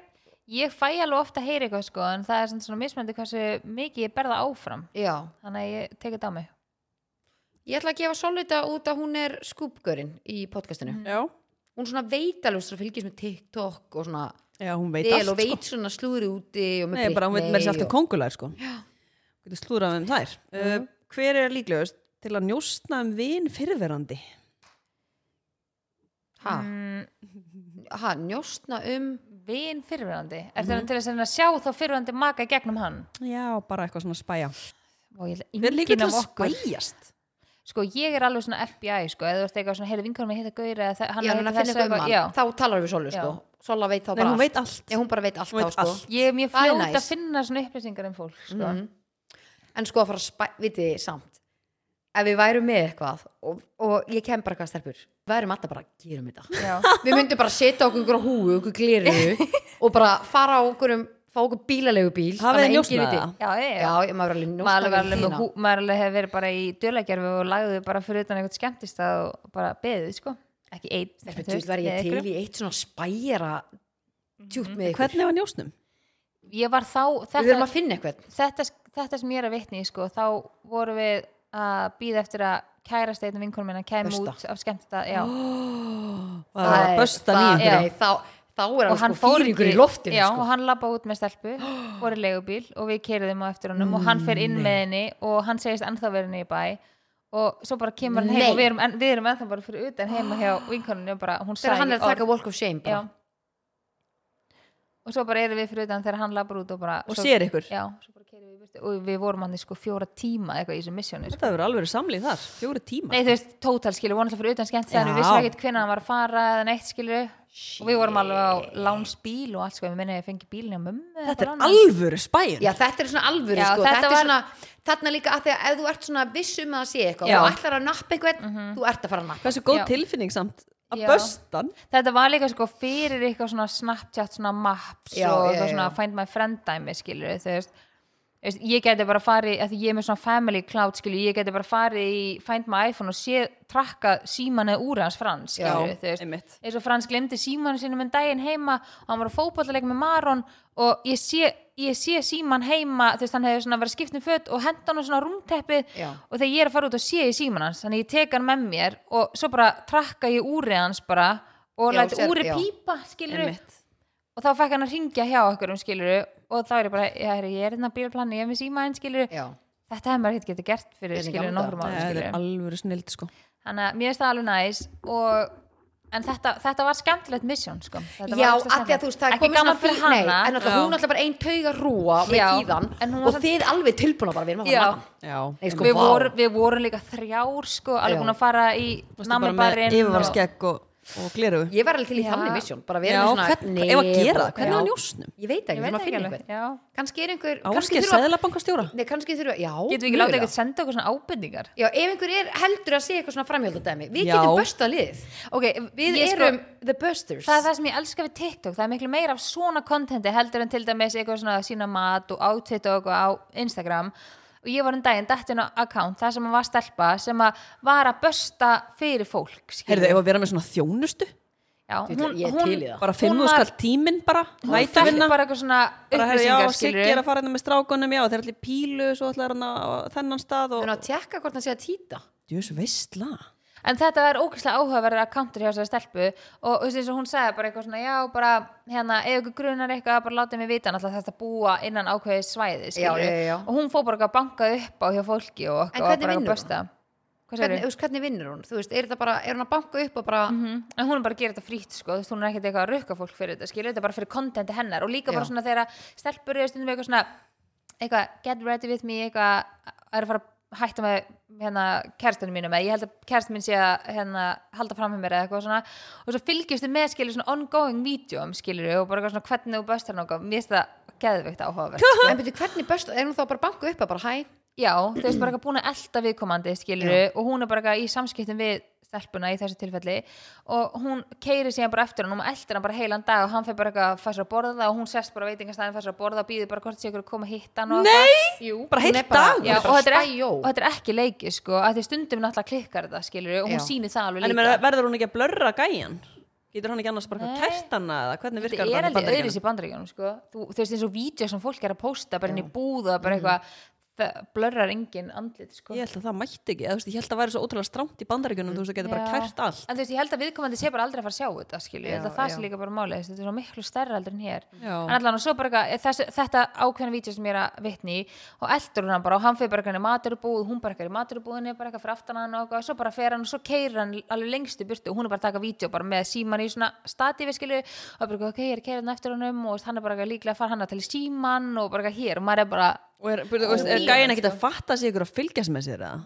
B: Ég fæ alveg ofta að heyra eitthvað sko en það er samt svona mismöndi hversu mikið ég berða áfram
A: já
B: þannig að ég tekið þetta á mig
A: Ég ætla að gefa Solita út að hún er skúpgörinn í podcastinu.
C: Já.
A: Hún svona veit alveg svo fylgjast með TikTok og svona
C: Já, hún veit
A: del
C: allt,
A: og
C: sko.
A: veit svona slúðri úti og með
C: Nei, bara hún veit með sér allt um
A: og-
C: kongulær sko. Getur slúðrað um þær. Uh, hver er líklegust til að njóstna um vin fyrirverandi?
A: Ha,
C: Mm.
A: ha, njóstna um
B: Mm, Vin fyrirverandi Er þetta til þess að reyna að sjá þá fyrirverandi maka í gegnum hann
C: Já, bara eitthvað svona spæja.
B: og ég
C: Hver
B: ætla
C: er líklegust til
B: enginn af
C: að
B: okkur
C: spæjast?
B: Sko ég er alveg svona FBI sko eða þú ert eitthvað svona heyri vinkonum að hitta gaur eða það- hann
A: já,
B: er að
A: hún að finna
B: hitta þessu
A: eitthvað um
B: eitthvað Já,
A: hann. Þá talar við Solu sko. Sola veit þá
C: Nei,
A: bara
C: hún veit
A: allt.
C: allt.
A: Já, hún bara veit allt
C: Hún veit
A: þá sko.
C: allt.
B: ég er mjög
A: Það er
B: fljót
A: næs.
B: að finna svona upplýsingar um fólk sko.
A: En sko að fara að spæ, vitið þið samt. Ef við værum með eitthvað og, og ég kem bara eitthvað stelpur, við værum alltaf bara, gerum þetta.
B: Já,
A: við myndum bara setja okkur ykkur á húu, okkur gleru og bara fara á okkur um fá okkur bílalegu bíl
C: Hafið þið njóstnað það?
B: já, já,
A: Já,
B: já.
A: ég maður alveg
B: Maður
A: njóstnað
B: alveg, alveg,
A: við
B: með
A: hina.
B: hú- maður alveg hefur verið bara í djölagerfi og lagði bara fyrir utan eitthvað skemmtist og bara beðið sko ekki einn
A: Þetta
B: heldur tveir,
A: vil var
B: með
A: ég
B: einhverjum.
A: til í eitt svona spæjara tjútt með ykkur.
C: Hvernig var njóstnum?
B: ég var þá
A: Við þurfum
B: þetta,
A: að finna eitthvað.
B: þetta, þetta sem ég er að vitni í, sko, þá vorum við að býða eftir að kærast einn vinkonum minna kæm
A: Busta.
B: út af skemmtista já,
C: Það var að bösta nýjum.
A: Já,
B: já.
A: þá, þá er
B: og
A: hann
B: hann
A: sko
B: fór
A: fýringur í
B: ekki-
A: loftinu
B: já,
A: sko.
B: og hann labba út með stelpu fór í legubíl og við keiriðum á eftir honum og hann fer inn með henni og hann segist ennþá verið henni í bæ og svo bara kemur hann heim
A: Nei.
B: og við erum, en, við erum ennþá bara fyrir utan heima hjá vinkonunni og bara hún
A: Þegar
B: sagði
A: hann er
B: ekki
A: að
B: orð.
A: taka walk of shame
B: já.
A: bara.
B: og svo bara erum við fyrir utan þegar hann labbar út og bara
C: Og
B: svo-
C: sér ykkur.
B: já, svo bara keirum við í burtu og við vorum hann í sko fjóra tíma eitthvað í þessu missjónu sko.
C: Þetta verður alveg samlíð þar. Fjóri tíma.
B: nei þú veist, tótal skilur, vorum alltaf fyrir utan skemmt
C: Já.
B: þannig við vissum ekkert hvernig hann var að fara eða neitt skilur og við vorum alveg á lánsbíl og allt sko, við minni að ég fengi bílinn hjá mömmu eða
C: Þetta
B: bara
C: er
B: annað.
C: alvöru spæjun.
A: Já, þetta er svona alvöru
B: Já,
A: sko.
B: þetta
A: Þetta er
B: var-
A: svona, þarna líka að því að ef þú ert svona viss um að það sé eitthvað
C: Já.
A: og ætlar að nappa eitthvað, þú ert að fara að nappa.
C: Hversu góð
B: Já.
C: tilfinning samt að
B: Já.
C: böstan.
B: þetta var líka sko fyrir eitthvað svona Snapchat svona maps
A: Já,
B: og
A: já,
B: eitthvað svona
A: já.
B: find my friend dæmi skilur þú veist Þú veist, ég geti bara farið, af því ég er með svona family cloud skilur, ég geti bara farið í find my iPhone og sé, trakka símanu úr hans frans skilur, þú veist
C: einmitt.
B: eins og frans glemdi símanu sinum en um daginn heima og hann var að fótballleika með Maron og ég sé, ég sé síman heima þú veist, hann hefur svona verið skipt um fött og henda hann á svona rúmteppið
A: Já.
B: og þegar ég er að fara út og sé ég síman hans þannig ég tek hann með mér og svo bara trakka ég úrið hans bara
A: Já,
B: og læt
A: sér-
B: úrið
A: já.
B: pípa skilur
C: Einmitt.
B: og þá fekk hann að ringja hjá okkur um skilur og þá er ég bara, ég er, ég er hérna bílplanni ég er með síma hans skilur
A: Já.
B: þetta hefði maður ekkert getið gert fyrir
A: Þetta er
B: skilur
A: gamla
B: nokkrum árum
C: Þetta
B: skilur
C: er alvöru snild, sko.
B: þannig að mér finnst það alveg næs og en þetta, þetta var skemmtilegt misjón sko. Þetta var
A: Já,
B: ógeðslega
A: af því að þú veist, það er
B: ekki
A: komið svona
B: gaman fyrir
A: fí- nei,
B: hana
A: en alltaf,
B: Já.
A: hún alltaf bara ein tauga rúa með
B: Já,
A: tíðan
B: en hún var
A: og
B: samt-
A: þið alveg tilbúna bara, við erum að
B: Já.
A: fara að
C: Já.
A: Nei, sko,
B: við,
A: vá.
B: voru, við vorum líka þrjár sko, alveg
A: Já.
B: búin að fara í
C: Bara með
B: nammibarinn
C: yfirvarskegg og og gleruðu
A: Ég var alveg til í
B: Já.
A: þannig misjón, bara
C: Já,
A: vera með
C: hvern,
A: svona
C: ef að gera það,
A: og-
C: hvernig
A: Já.
C: var njósnum?
A: Ég veit ekki,
B: Ég
A: við
B: veit
A: erum að
B: ekki
A: finna
B: alveg,
A: einhvern
B: já.
A: Kannski er einhver kannski
C: Áskeið
A: þurfa-
C: seðlabankastjóra?
A: Nei, kannski þurfa, já
B: Getum við ekki látið
A: mögulega.
B: eitthvað senda okkur svona ábendingar?
A: Já, ef einhver er heldur að segja eitthvað svona framhjóldadæmi Við
C: Já.
A: getum bösta liðið
B: Ok, við
A: Ég
B: erum,
A: erum the busters
B: það er það sem ég elska við TikTok, það er miklu meira af svona kontenti heldur en til dæmis eitthvað svona að sína mat og átveita okkur á Instagram og ég var um daginn dættin á account, það sem var stelpa sem að var að bösta fyrir fólk, skilur
C: Heyrðu, ef að vera með svona þjónustu?
B: Já,
A: Ég ætla-
B: hún,
A: ég er
B: hún,
A: til í það.
C: Bara
B: hún
C: fimmu
B: var-
C: skall tíminn bara,
B: hún fekk
C: nætuvinna
B: bara eitthvað svona
C: bara heyrðu, já,
B: upplýsingar,
C: Siggi
B: skilur
C: er að fara hérna með strákunum, já, þeir er allir í pílu svo ætlar hann á þennan stað
A: Þannig
C: og
A: að tjekka hvort hann sé að týta
C: djús veistla
B: En þetta var ógeðslega áhugaverður að kantur hjá þessari stelpu og þú veist eins og hún sagði bara eitthvað svona já bara hérna ef ykkur grunar eitthvað bara látið mig vita náttúrulega þetta búa innan ákveðið svæði skilurðu.
A: já, já, já.
B: og hún fór bara eitthvað að banka upp á hjá fólki og
A: En
B: okkur og
A: hvernig
B: bara
A: vinnur
B: að bösta Hvað
A: hvernig,
B: segirðu?
A: þú veist, hvernig vinnur hún? Þú veist, er, þetta bara, er hún að banka upp og bara
B: Mhm. En hún er bara að gera þetta frýtt sko, þú veist, hún er ekkert eitthvað að rukka fólk fyrir þetta, skilur þetta er bara fyrir kontenti hennar og líka bara
A: Já.
B: svona þegar að stelpur eru stundum eitthvað svona, eitthvað get ready with me, eitthvað er að fara að hætta með hérna kærstinu mínum eða ég held að kærstinu mín sé að hérna halda fram með mér eða eitthvað svona og svo fylgjustu með skilur svona ongoing videoum skilur og bara eitthvað svona hvernig þú böstar nokkuð, mér finnst það geðveikt áhugavert
A: En byrju, hvernig besta, er hún þá bara að banka upp að bara hæ?
B: Já, þú veist bara eitthvað búin að elta viðkomandi skilur og hún er bara eitthvað í samskiptum við stelpuna í þessu tilfelli og hún keiri síðan bara eftir hann og maður eltir hann bara heilan dag og hann fer bara eitthvað að fæsra að borða og hún sest bara veitingastæðin fæsra að borða og býður bara hvort sé ykkur að koma að hitta hann og Nei!
A: Jú,
C: Bara heill dagur?
B: Já, og, þetta er, ekki-
A: spæjó
B: og þetta er ekki leiki sko, að því stundum náttúrulega klikkar þetta skilur og hún
A: Já.
B: sýnir það alveg
C: En ég
B: líka
C: meina, verður hún ekki að blörra gæjan? Getur hann ekki annars bara kertana eða hvernig virkar það
B: Þetta er
C: í
B: alveg
C: Bandaríkjunum?
B: öðris í bandaríkjunum sko. þú, þú veist eins og vídeo sem fólk er að posta bara inn í búða,
C: Mhm.
B: bara eitthvað það blörrar engin andlit sko.
C: Ég held að það mætti ekki, eða, þú veist, ég held að það væri svo ótrúlega strámt í bandaríkunum, þú veist, þú getur bara
B: Já.
C: kært allt
B: en þú veist, ég held að viðkomandi sé bara aldrei að fara að sjá þetta skilju, ég held að
A: Já,
B: það sé
A: já.
B: líka bara málið þetta er svo miklu stærra heldur en hér
C: Já.
B: en allan og svo bara eitthvað, þess, þetta ákveðna vídeo sem ég er að vitni í, og eldur hann bara og hann fyrir bara eitthvað í maturubúð, hún bara eitthvað í maturubúðinni bara eitthvað fyrir aftan hann og eitthvað, svo bara fer hann og svo keirir hann alveg lengst í burtu og hún er bara að taka vídeo bara með síman í svona statífi skilju og bara eitthvað, ok, ég er að keira hann eftir honum og hann er bara eitthvað líklega að fara hann til síman og bara eitthvað hér og maður er bara,
C: Og er, byrju, þú veist, er gæjan ekkert að fatta sig ykkur að fylgjast með sér eða?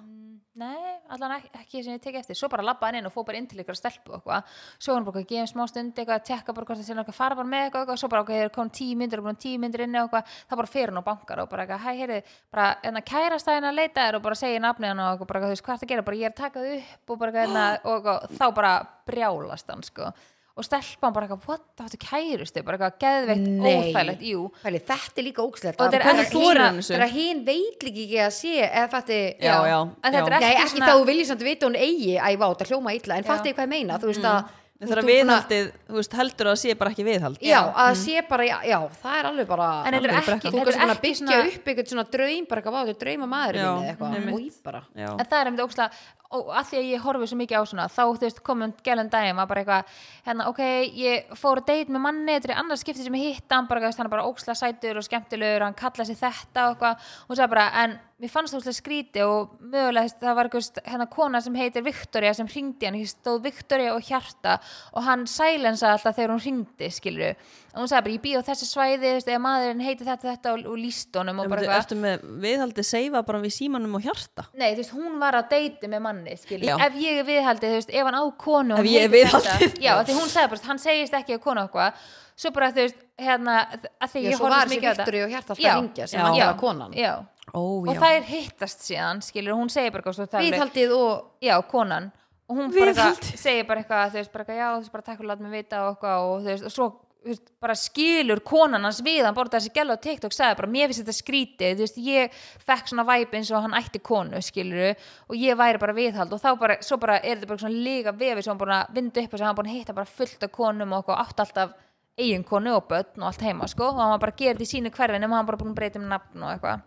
B: Nei, allan ekki, ekki sem ég tekið eftir svo bara labba hann inn og fór bara inn til ykkur að stelpu og eitthvað. svo hann bara að gefa smá stund eitthvað að tekka bara hvort það sé nokkuð fara bara með eitthvað, eitthvað. svo bara ok, þeir kom tíu myndir og búin tíu myndir inn og eitthvað, það bara fer hann og bankar og bara eitthvað, hæ, heyrðu, bara enna kærast að hérna að leita þér og bara segja nafnið hann og eitthvað, bara eitthvað, þú veist hvað það gera, bara ég er að taka þig upp og bara eitthvað, hérna, og eitthvað, þá bara brjálast hann sko og stelpan bara eitthvað, what, það áttu kærustu bara eitthvað, geðveitt,
A: Nei.
B: óþægilegt, jú
A: Pæli, þetta er líka ógslegt
B: Og þetta er
C: ekki þorir hann þessu.
A: Þegar hinn veit líka ekki að sé eða fatti
C: Já, já,
B: en þetta er
C: já.
A: Nei,
B: ekki
A: ekki
B: svona-
A: þá þú viljið samt vita að hún eigi Æ, vá, þetta hljóma illa, en fatti hvað ég meina
B: Mhm.
A: Þú veist að þú
C: Þegar
A: ert búin að-
C: viðhaldið, þú veist, heldur að það sé bara ekki viðhald
A: Já, að sé bara, já, já, það er alveg bara
B: Mhm. En þetta er
A: alveg
B: ekki-
A: brekka. Þú
B: þetta er
A: kannski svona
B: ekki
A: byggja
B: svona-
A: upp einhvern svona draum bara eitthvað, vá, þetta er drauma maður
C: Já,
A: minni eitthvað, og ég bara
C: Já.
B: en það er einmitt ókslega og að því að ég horfi svo mikið á svona þá þú veist komum gælum daginn var bara eitthvað hérna ok, ég fór að date með manni þetta er annars skipti sem ég hitt hann bara, þú veist, hann er bara ókslega sætur og skemmtilegur hann kallaði sig þetta og eitthvað og hún sagði bara en mér fannst það ókslega skríti og mögulega þú veist, það var eitthvað hérna kona sem heitir Viktoria sem hringdi hann, hér stóð Viktoria og hjarta og hann sælensaði alltaf þegar hún hringdi skilur og hún sagði bara ég býð á þessi svæði þú veist, eða maðurinn heitir þetta, þetta og, og líst honum og
C: Bara,
B: bara eitthvað
C: Ertu með viðhaldið seifa bara við símanum og hjarta?
B: Nei, þú veist, hún var að deyti með manni, skilur.
C: Já.
B: Ef ég er viðhaldið, þú veist, ef hann á konu og
C: Ef
B: hún
C: ég er
B: heitir
C: viðhaldið.
B: þetta- Já, af því hún sagði bara, hann segist ekki að konu okkur Svo bara, þú veist, hérna að því
A: Já,
B: ég
A: svo
B: horfði
A: var
B: svo
A: þessi
B: mikið á þetta
A: Viktori og hjarta alltaf
B: Já.
A: að ringja sem
C: Já.
A: hann
B: Já.
A: var konan
B: Já,
C: Ó,
B: og
C: já.
B: þær hittast síðan, skilur, hún segir bara eitthvað svo það er alveg-
A: Viðhaldið og
B: já, konan og hún bara eitthvað,
C: Viðhaldið.
B: segir bara eitthvað þú veist, bara eitthvað, já, þú veist, bara takk fyrir að láta mig vita og, eitthvað, og þú veist, og svo þú veist, bara skilur konan hans við, hann bara þessi gæla á TikTok sagði bara, mér finnst þetta skrítið þú veist, ég fekk svona væp eins og hann ætti konu skiluru, og ég væri bara viðhald og þá bara, svo bara er þetta bara svona líka vefi sem hann búin að vinda upp og sem hann búin að hitta bara fullt af konum og okkur, átt alltaf eigin konu og börn og allt heima, sko og hann var bara gerði í sínu hverfinu, hann var bara búin að breyta um nafn og eitthvað,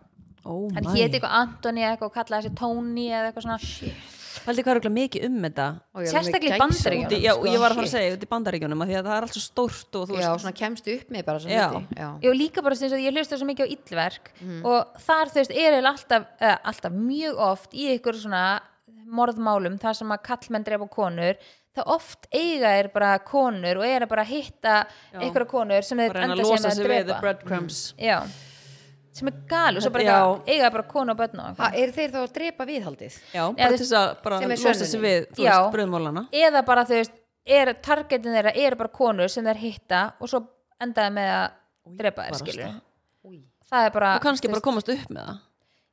C: Ó,
B: hann
C: mæ.
B: héti eitthvað Antoni eða eitthvað og kallaði þessi Tony eða eitthvað svona
C: Haldið hvað er örugglega mikið um þetta?
A: Ó, ég er alveg með
B: Sérstaklega í
A: gæsa
B: Bandaríkjunum, sko.
A: úti.
C: Já, og ég var að fara
A: Shit.
C: að segja, þetta í bandaríkjunum, af því að það er allt svo stórt og þú
A: Já,
C: veist,
A: svona kemstu upp með bara sem
C: Já. Mm.
A: hluti Já.
B: Ég var líka bara sem að ég hlusta svo mikið á illverk og þar þú veist er eiginlega alltaf, uh, alltaf mjög oft í ykkur svona morðmálum þar sem að kallmenn drepa konur það oft eiga er bara konur og er að bara hitta ykkur konur sem þeir
C: bara reyna
B: enda
C: að losa
B: sem
C: sig
B: að
C: við the
B: drepa Mm.
C: breadcrumbs.
B: Já, sem er gal og svo bara
C: Já.
B: eitthvað- eiga bara konu og börn og
A: Ha,
B: eitthvað.
A: eru þeir þá að drepa viðhaldið?
C: Já,
B: þú
C: bara til
B: veist,
C: þess að bara
A: sem er
C: losa sig
A: sönnunin.
C: við, þú
B: Já.
C: veist, bröðmálana.
B: eða bara þú veist er targetin þeirra eru bara konur sem þeir hitta og svo endaði með að drepa þeir
C: barasta.
B: skilur það er bara,
C: og kannski
B: þú
C: bara komast upp með það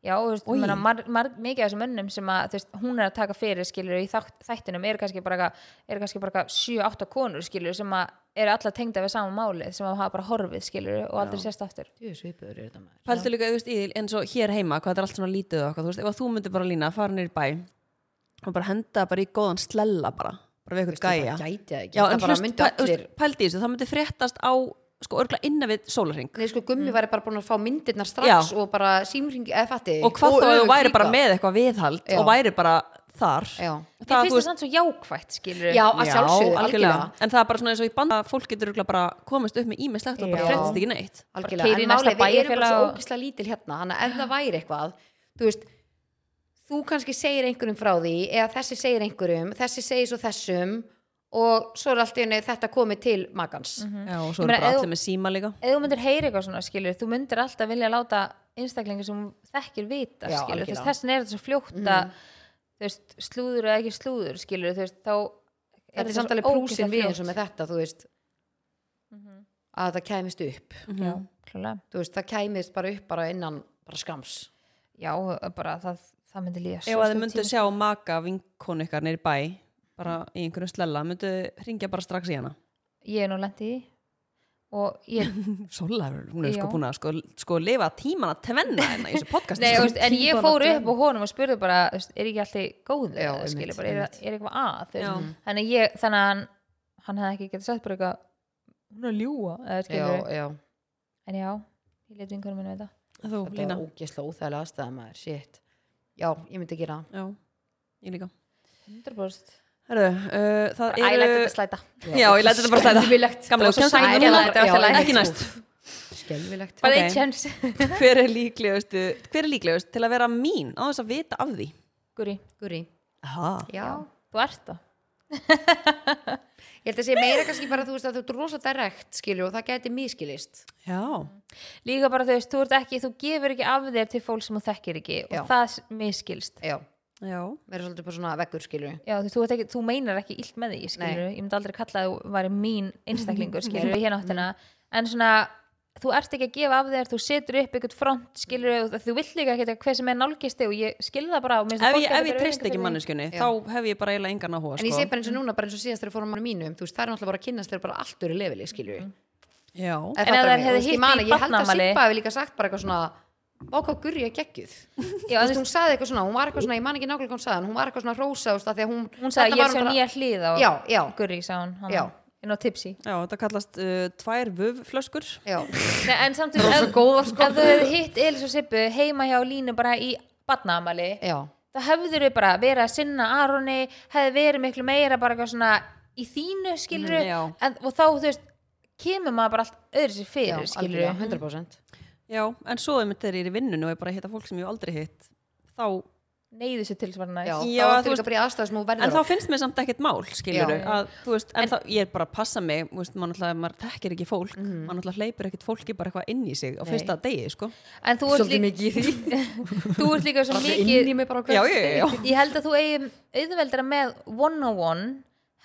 B: já, þú veist, ég meina, mar, mar, mikið af þessum önnum sem að, þú veist, hún er að taka fyrir skilur í þátt, þættinum eru kannski bara eitthvað- eru kannski bara 7-8 konur skilur sem að eru allar tengda við sama málið sem að hafa bara horfið skilur og aldrei sérst aftur
A: Jú, svipuður er þetta maður.
C: Pæltu líka, þú veist, í, eins og hér heima, hvað þetta er allt svona lítið og eitthvað, þú veist, ef að þú myndir bara lína að fara nýr í bæ og bara henda bara í góðan slella bara, bara
A: Þú
C: við eitthvað
A: veist, ég bara
C: gæja.
A: gæti það ekki.
C: Já,
A: Það
C: en
A: bara
C: hlust,
A: myndi
C: pæ, þú veist,
A: allir-
C: pældu í þessu, það myndi fréttast á, sko, örgla innan við sólarring.
A: Nei, sko, gummi væri bara búin að fá myndirnar strax
C: Já.
A: og bara símringi, eða fatti.
C: Og hvað þá, ef þú væri bara með eitthvað viðhald
A: Já.
C: og væri bara þar.
A: Já,
B: ég
C: Það,
B: finnst
C: þú
B: það
C: veist,
B: samt svo jákvætt skilur
A: já að sjálfsögðu, algjörlega.
C: En það er bara svona eins og í banda, fólk getur örgla bara komast upp með ímislegt og
B: Já.
C: bara fréttist ekki neitt.
A: algjörlega,
B: keyra í
A: en
B: næsta
A: málið, við erum bara
B: bæjarfélag
A: svo
B: og-
A: ógislega lítil hérna þannig að ef það væri eitthvað þú veist, þú kannski segir einhverjum frá því eða þessi segir einhverjum, þessi segir svo þessum og svo er allt í henni þetta komið til magans
C: Já, og svo er
B: Ég meina,
C: bara
B: ef-
C: allir með síma líka.
B: ef þú myndir heyri eitthvað svona skilur þú myndir alltaf vilja láta einstaklingar sem þú þekkir vita
A: Já,
B: skilur
A: algjörlega. Mhm.
B: þess, þessin er þetta svo fljóta mm. veist, slúður eða ekki slúður skilur þess, þá
A: þetta er samtalið prúsin við eins og með þetta þú veist
C: Mhm.
A: að það kæmist upp
B: já, klálega
A: þú veist, það kæmist bara upp bara innan bara skams
B: já, bara það, það myndi líða
C: Ef að þið myndu sjá maka vinkonu ykkar neyri bæ, bara í einhverju slella, myndu ringja bara strax í hana.
B: ég er nú lent í því og ég
C: Sola, hún er sko
B: Já.
C: búin að sko, sko lifa tíman að tvenna hennar í þessu podcasti. sko.
B: Nei, veist, en ég
C: Tímana
B: fór
C: að
B: upp á honum og spurði bara, þú veist, er ekki alltaf góður
A: Já,
B: eða, skilur,
A: einmitt,
B: bara, er,
A: einmitt.
B: er eitthvað að þú
C: Mm.
B: veist. þannig, að ég, þannig að hann, hann hefði ekki getið sett bara eitthvað hún er að ljúa eða,
A: já,
B: skilur,
A: já,
B: en já, ég let vinkunum minna veit það
C: tvenna. Þú,
A: þetta
C: Lína.
A: var ógislega óþægilega aðstæða maður, shit já, ég myndi gera það
C: Já, ég líka.
B: 100%
C: Herru, uh, það
B: bara ælægt
C: eru...
B: þetta slæta
C: Já, ég læti þetta bara slæta.
A: Skelfilegt. Þetta
C: Gamla,
A: var
C: þú
A: svo
C: kemst ekki
A: sæt-
C: núna.
A: Já, þetta var allt í lagi.
C: Ekki næst.
A: skelvilegt
B: bara
C: Ok.
B: eitt chance
C: Hver er líklegustu, hver er líklegust til að vera mín á þess að vita af því?
B: Guri,
A: Guri,
C: Aha.
A: já.
B: þú ert það
A: Ég held að segja meira kannski bara þú veist að þú ert rosa direkt skilur og það gæti miskilist.
C: Já.
B: líka bara þú veist, þú ert ekki, þú gefur ekki af þér til fólk sem þú þekkir ekki
A: Já.
B: og það miskilst
A: Já,
C: Já.
A: meira svolítið bara svona veggur skilur.
B: Já, þú, þú, ert ekki, þú meinar ekki illt með því skilur, ég myndi aldrei kalla að þú væri mín einstaklingur skilur við hérnáttina en svona, þú ert ekki að gefa af þér þú setur upp eitthvað front skilur og þú vill líka ekki hver sem er nálgist þig og ég skilur það bara og mér finnst
C: Ef
B: að
C: ég,
B: fólk
C: ef
B: ætti
C: ég
B: að
C: treyst ekki
B: virða fyrir því.
C: manneskunni, þá hef ég bara eiginlega engan áhuga,
A: En
C: sko.
A: ég segi bara eins og núna, bara eins og síðast þegar við fórum á mínum, þú veist það er náttúrulega bara að kynnast þegar bara allt eru lefili skilur.
C: Mhm.
A: Mm.
C: Já.
B: En ef þær hefðu hitt í
A: Ég held að
B: barnaafmæli-
A: Sippa hefði líka sagt bara eitthvað svona, vá hvað gurri ég geggjuð. Já, þú veist, hún saði eitthvað svona, hún var eitthvað svona, ég man ekki nákvæmlega hvað hún saði, en hún var eitthvað svona rósa, þú veist, af því að hún...
B: hún sagði
A: þetta var
B: ég sé
A: bara-
B: nýja hlið á
A: Já, já.
B: Gurri, sá hún, hann
A: Já.
B: inn á tipsi
C: Já, þetta kallast uh, tvær vöfflöskur.
A: Já,
B: Nei, en samt ef, ef
A: sko.
B: þú hefði hitt Elis og Sippu heima hjá Línu bara í badnaamali
A: já,
B: þá hefður við bara verið að sinna Aroni hefði verið miklu meira bara eitthvað svona í þínu skiluru
C: Mhm, já.
B: en, og þá þú veist kemur maður bara allt öðru sér
A: já,
B: fyrir skiluru
A: algjörlega, 100%.
C: Já, en svo er mitt þegar ég er í vinnunni og ég bara hitta fólk sem ég hef aldrei hitt þá,
B: neyðu sér til svona
A: Já,
B: næst
A: þá
C: Já,
A: ertu
C: þú
A: líka
C: veist-
A: bara í aðstæðu sem þú verður
C: en þá
A: á.
C: finnst mér samt ekkert mál, skilur
A: Já.
C: að, þú veist, en, þá, ég er bara að passa mig, þú veist, maður náttúrulega, maður tekkir ekki fólk maður náttúrulega hleypir ekkert fólki bara eitthvað inn í sig á fyrsta degi, sko
B: en þú ert,
A: Svolítið
B: líka,
A: mikið í því.
B: þú ert líka svo
A: Allir inn
B: mikið
A: í mig bara á
C: Já,
A: hverjum
C: já, já,
A: degi.
C: já.
B: ég held að þú eigum auðveldara með one on one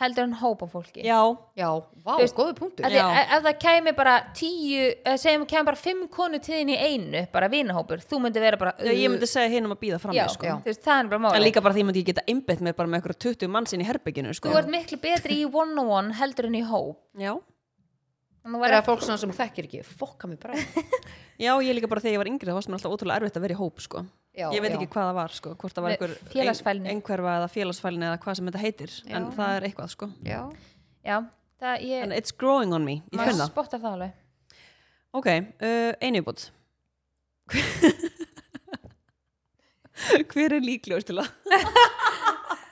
B: heldur en hópa fólki
C: Já,
A: Já, vá,
B: Þú veist,
A: góðu punktur.
B: Af því
C: Já.
B: að- ef það kæmi bara tíu eh, segjum kæmi bara fimm konu til þín í einu bara vinahópur, þú myndi vera bara
C: ég myndi segja hinum að býða fram
B: Uh, já,
C: mig, sko
B: já. Þú veist, það er bara máli
C: en líka bara því myndi ég geta einbett mér bara með eitthvað 20 manns inn í herbygginu, sko
B: þú ert miklu betri í one on one heldur en í hóp
C: Já.
B: Þannig að
A: Það
B: vera
A: er að fólk svona sem þú þekkir ekki, fokka mig bara.
C: já, ég líka bara þegar ég var yngri þá varst mér alltaf ótrúlega erfitt að vera í hóp, sko
A: Já,
C: ég veit
A: já.
C: ekki hvað það var, sko, hvort það var
B: Nei,
C: einhver
B: félagsfælni.
C: ein- einhverfa eða félagsfælni eða hvað sem þetta heitir en það er eitthvað, sko
A: Já,
B: Já, það ég
C: en it's growing on me, ég
B: maður
C: finn það
B: spottar það alveg
C: Ok, uh, einubútt Hver er líklegust til að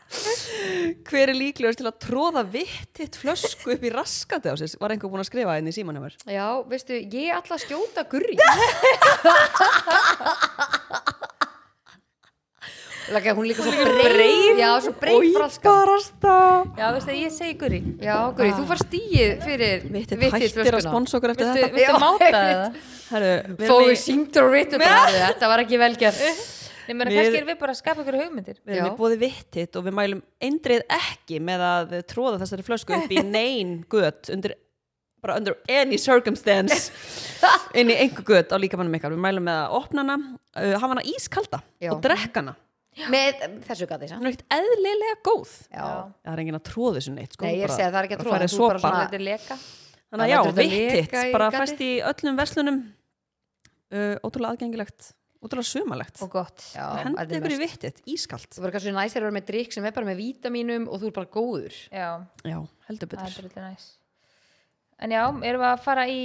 C: Hver er líklegust til að tróða vittitt flösku upp í raskati á sér Var einhver búinn að skrifa henni í símanumver
A: já, veistu, ég ætla að skjóta gurri. Lækka, hún er líka svo breið. Já, svo breið fraskan.
C: barasta
B: Já, veistu, ég segi guri
A: Já, gurri, þú far stíið fyrir
C: Vittitt hættir að sponsa okkur eftir
B: Viltu,
C: þetta
B: viltu
A: Já,
B: máta
A: einmitt.
B: það?
C: Herru, við
A: Þó
C: erum
A: við
C: í-
A: símdur og vittu bara, þetta var ekki velgjart.
B: Nei, menn,
C: Mér-
B: kannski erum við bara að skapa ykkur hugmyndir
C: Við erum
A: Já.
C: í bóði vittitt og við mælum eindrið ekki með að tróða þessari flösku upp í nein gött undir, bara under any circumstance inn í einhver gött á líkamannum ykkar. Við mælum með að opna hana, uh, hafa hana ískalda
A: Já.
C: og drekka hana.
A: með um, þessu gati
C: Hún er ekkert eðlilega góð.
A: já,
C: Það er enginn að tróða þessu neitt. Sko.
A: Nei, ég
C: Bara-
A: segi að það er ekki að
C: bara
A: tróða,
C: farið
A: þú
C: sopa.
A: bara svona-
B: Þetta er leka
C: Þannig að
A: Það
C: já,
A: lætur þetta
C: vittitt,
A: leka í
C: bara
A: gatið.
C: fæst í öllum verslunum. Uh, ótrúlega aðgengilegt, ótrúlega sumalegt.
B: og gott
A: já
C: Hendi
A: þetta er
C: ykkur í
A: mest.
C: vittitt, ískalt.
A: þú verður kannski næsir að vera með drikk sem er bara með vítamínum og þú er bara góður
B: Já,
C: Já, heldur
B: það er
C: betur.
B: svolítið næs En já, erum við að fara í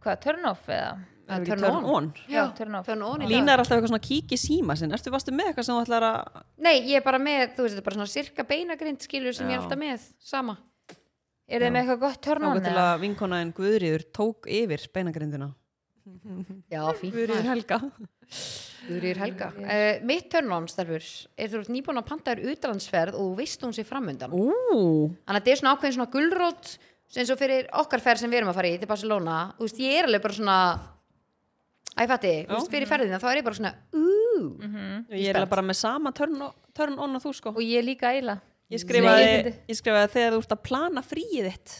B: hvað, turn off eða?
A: Að
C: Erum við ekki
A: turn on.
B: Já, turn off.
A: turn on í
C: Lína
A: dag.
C: er alltaf eitthvað svona að kíkja í síma sinn Ertu vastu með eitthvað sem þú ætlar að
A: nei, ég er bara með, þú veist, þetta er bara svona sirka beinagrind skilur sem ég
C: Já.
A: er alltaf með, sama
B: Eru þið með eitthvað gott turn
C: Nákvæm
B: on
C: til
B: eða?
C: að vinkonaðin Guðriður tók yfir beinagrindina
A: já, fínt
C: Guðriður
A: maður.
C: Helga
A: Guðríður Helga uh, mitt turn on, stelfur, er þú ert nýbúin að panta þér utlandsferð og þú veist hún sé framundan
C: Ú,
A: Þannig að þetta er svona ákveðin svona gulrót eins og fyrir okkar ferð sem við erum að fara í til Barcelona, þú veist, ég er alveg bara svona Æ, ég fatti, þú veist, fyrir ferðina þá er ég bara svona, úúú
C: Ég er eiginlega bara með sama törn, törn on að þú sko
B: Og ég líka eila
C: Ég skrifaði,
B: Nei, fyndi.
C: ég skrifaði þegar þú ert að plana fríið þitt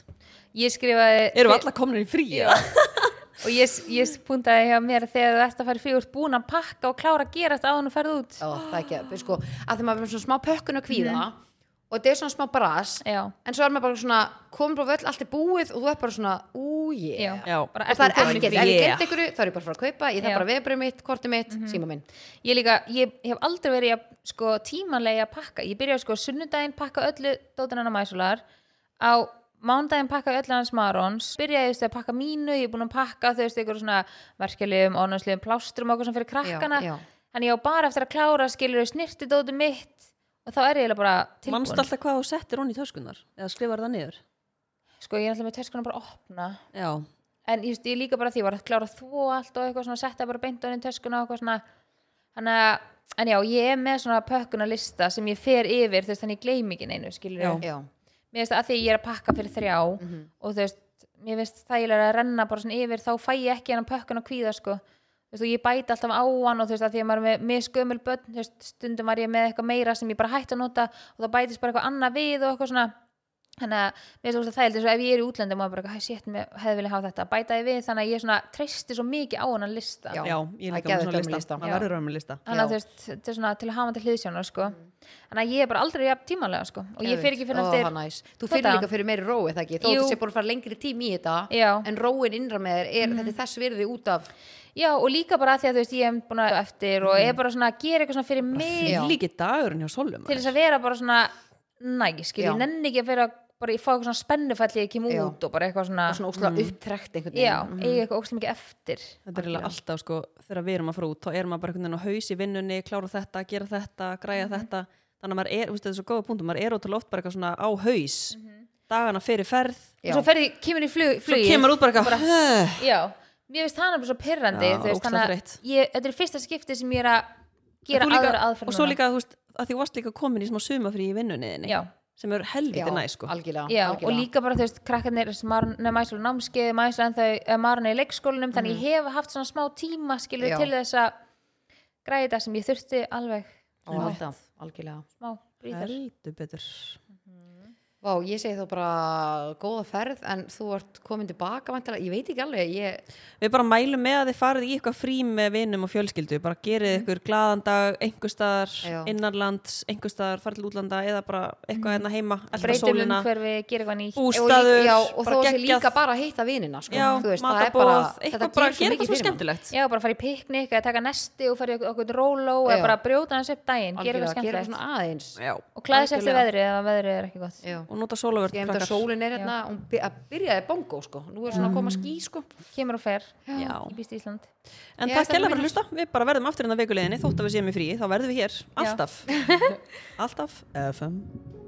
B: Ég skrifaði
C: Eru við alla komnir í fríið?
B: og ég, ég puntaði hjá mér þegar þú ert að fara í frí, þú ert búin að pakka og klára að gera þetta áðan og ferð út
A: Já, það ekki, sko, að þegar maður er með svona smá pökkun og kvíða og þetta er svona smá bras
B: Mhm. Já,
A: en svo er maður bara svona, komin bara völl, allt er búið og þú er bara svona, ú, ég
B: já,
A: yeah.
C: Já.
B: Bara,
A: og það er
B: ert þú komin í
A: ekkert,
B: frí?
A: ef ég
C: Yeah.
A: gert ykkur þá er ég bara að fara að kaupa, ég þarf
B: Já. Mhm.
A: bara vebrið mitt, kortið mitt, síma minn
B: Ég líka, ég hef aldrei verið að, sko, tímanlega að pakka. Ég byrjaði sko sunnudaginn pakka öllu dótinan á mæsular, á mándaginn pakka öllu hans marons, byrjaði þú veist, að pakka mínu, ég er búin að pakka þau veist ykkur svona verkefliðum, ónansliðum, plástrum og okkur sem fyrir krakkana.
A: Já, já.
B: Þannig ég á bara eftir að klára, skilur þau snirti dóti mitt og þá er ég eiginlega bara tilbúin.
C: Manstu alltaf hvað þú settir hon í töskunnar? Eða skrifar það niður?
B: Sko, ég er alltaf með töskuna bara að opna.
C: Já,
B: en ég, veist, ég líka bara því ég var að klára þvó allt og eitthvað svona setta bara beint á henni töskuna og eitthvað svona þannig að, en já, ég er með svona pökkuna lista sem ég fer yfir þú veist, þannig ég gleym ekki neinu, skilur
C: Já.
B: mér
A: Já,
B: veist að því ég er að pakka fyrir þrjá
A: Mhm.
B: og þú veist, mér veist þægilega að renna bara svona yfir, þá fæ ég ekki hennan pökkuna kvíða, sko, þú veist, og ég bæti alltaf á hann og þú veist, að því að maður er með, með skömmul börn, þú veist, stundum var ég með eitthvað meira sem ég bara hætti að nota og þá bætist bara eitthvað annað við og eitthvað svona þannig að mér finnst það þægilegt eins og ef ég er í útlöndum og bara, eitthvað, hæ, sétt, mér hefði vilja hafa þetta bæta ég við, þannig að ég svona treysti svo mikið á hennan lista
A: Já.
C: já, ég
A: Það
C: er líka með
A: geðveikt að vera með lista.
C: svona lista Maður
B: Já.
C: verður að vera með lista
B: þannig að þú veist, þetta er svona til að hafa til hliðsjónar sko. þannig að ég er bara aldrei jafn tímalega sko. og ég fer ekki
A: Mhm.
B: fyrir
A: Ó,
B: eftir
A: það er næs. Þú
B: Tvo
A: fyrir
B: daga.
A: líka fyrir meiri rói, það ekki, þó
B: Jú.
A: þú sé búin að fara lengri tími í þetta
B: Já. Mhm.
A: en róin innra með þér, er, þetta er þess virði út af
B: já, og líka bara að því að þú veist, ég er búin að eftir og
C: Mm.
B: er bara svona að gera eitthvað svona fyrir mig
A: Já.
C: Líki dagurinn hjá Solum
B: til þess að vera bara svona næg, skil,
A: Já.
B: ég nenni ekki að vera bara, ég fá eitthvað svona spennufall ég kem
A: Já.
B: út og bara eitthvað svona,
A: og svona óslega upptrekt einhvern
B: Mhm. já,
C: Mhm.
A: veginn
B: eigi eitthvað ókslega mikið eftir
C: Þetta er eiginlega alltaf sko, þegar við erum að fara út þá er maður bara einhvern veginn á haus í vinnunni klára þetta, gera þetta,
B: Mhm.
C: græja þetta þannig að maður er, þú veist, þetta er svo góða punktum maður er ótrúlega oft bara eitthvað svona á haus dagana fyrir ferð
A: Já.
B: og svo ferði, kemur í
C: svo
B: flug, Mhm. flugið
C: kemur út bara eitthvað "Huh."
B: Já, mér finnst hana bara svo pyrrandi
C: Já,
B: þú veist,
C: ógeðslega
B: þannig að
C: þreytt.
B: ég, þetta er fyrsta skipti sem ég er að gera
C: Þú líka-
B: aðra aðferð
C: og svo
B: núna.
C: líka, þú veist, að því þú varst líka komin í smá sumafrí í vinnunni þinni
B: Já.
C: sem er helviti næ, sko
A: algjörlega,
B: Já,
A: algjörlega.
B: og líka bara þú veist, krakkarnir mæslu námskeið, mæslu en þau marna í leikskólanum, þannig ég hef haft svona smá tíma skilur
A: Mhm. Já.
B: til þess að græði þetta sem ég þurfti alveg
A: Á, alltaf, algjörlega
B: smá brýður
C: heldur betur
A: Vá, ég segi þá bara góða ferð en þú ert komin tilbaka vantala, ég veit ekki alveg ég,
C: Við bara mælum með að þið farið í eitthvað frí með vinum og fjölskyldu, bara gerið ykkur glaðan dag, einhverstaðar,
A: Mhm. Já. Mhm.
C: innanlands einhverstaðar, farið til útlanda eða bara eitthvað hérna heima, elta
B: breytum um
C: sólina.
B: umhverfi, gera eitthvað nýtt
C: bústaður,
A: um og, líka, já, og
C: bara
A: þó sé
C: geggjað,
A: líka bara að hitta vinina sko.
C: já,
A: Þú veist, það er
C: matabóð,
A: þetta
C: eitthvað bara
A: gerir svo
C: gera
A: mikið
C: eitthvað svona
A: fyrir mann.
C: skemmtilegt
B: Já, bara fara í piknik eða taka nesti og fara í okkur róló
A: Já.
B: eða bara brjóta hans upp daginn, gera
A: Algjörlega,
B: eitthvað
A: gera eitthvað
B: skemmtilegt
A: svona aðeins
C: já.
B: og klæða sér eftir
C: Algjörlega.
B: veðrið eða veðrið er ekki gott
A: Já.
C: og nota sólavörð
A: ég hef þetta
C: krakkar
A: sólin er hérna hún by- að byrjaði bongo sko, nú er svona
B: Mm.
A: að koma ský sko
B: kemur og fer,
C: Já.
B: ég býst í Ísland
C: en
A: Ég ætla
C: takk
A: að
C: hella fyrir
A: vinna.
C: að hlusta, við bara verðum hérna aftur innan vikuleginni þótt að við séum í fríi, þá verðum við hér alltaf alltaf FM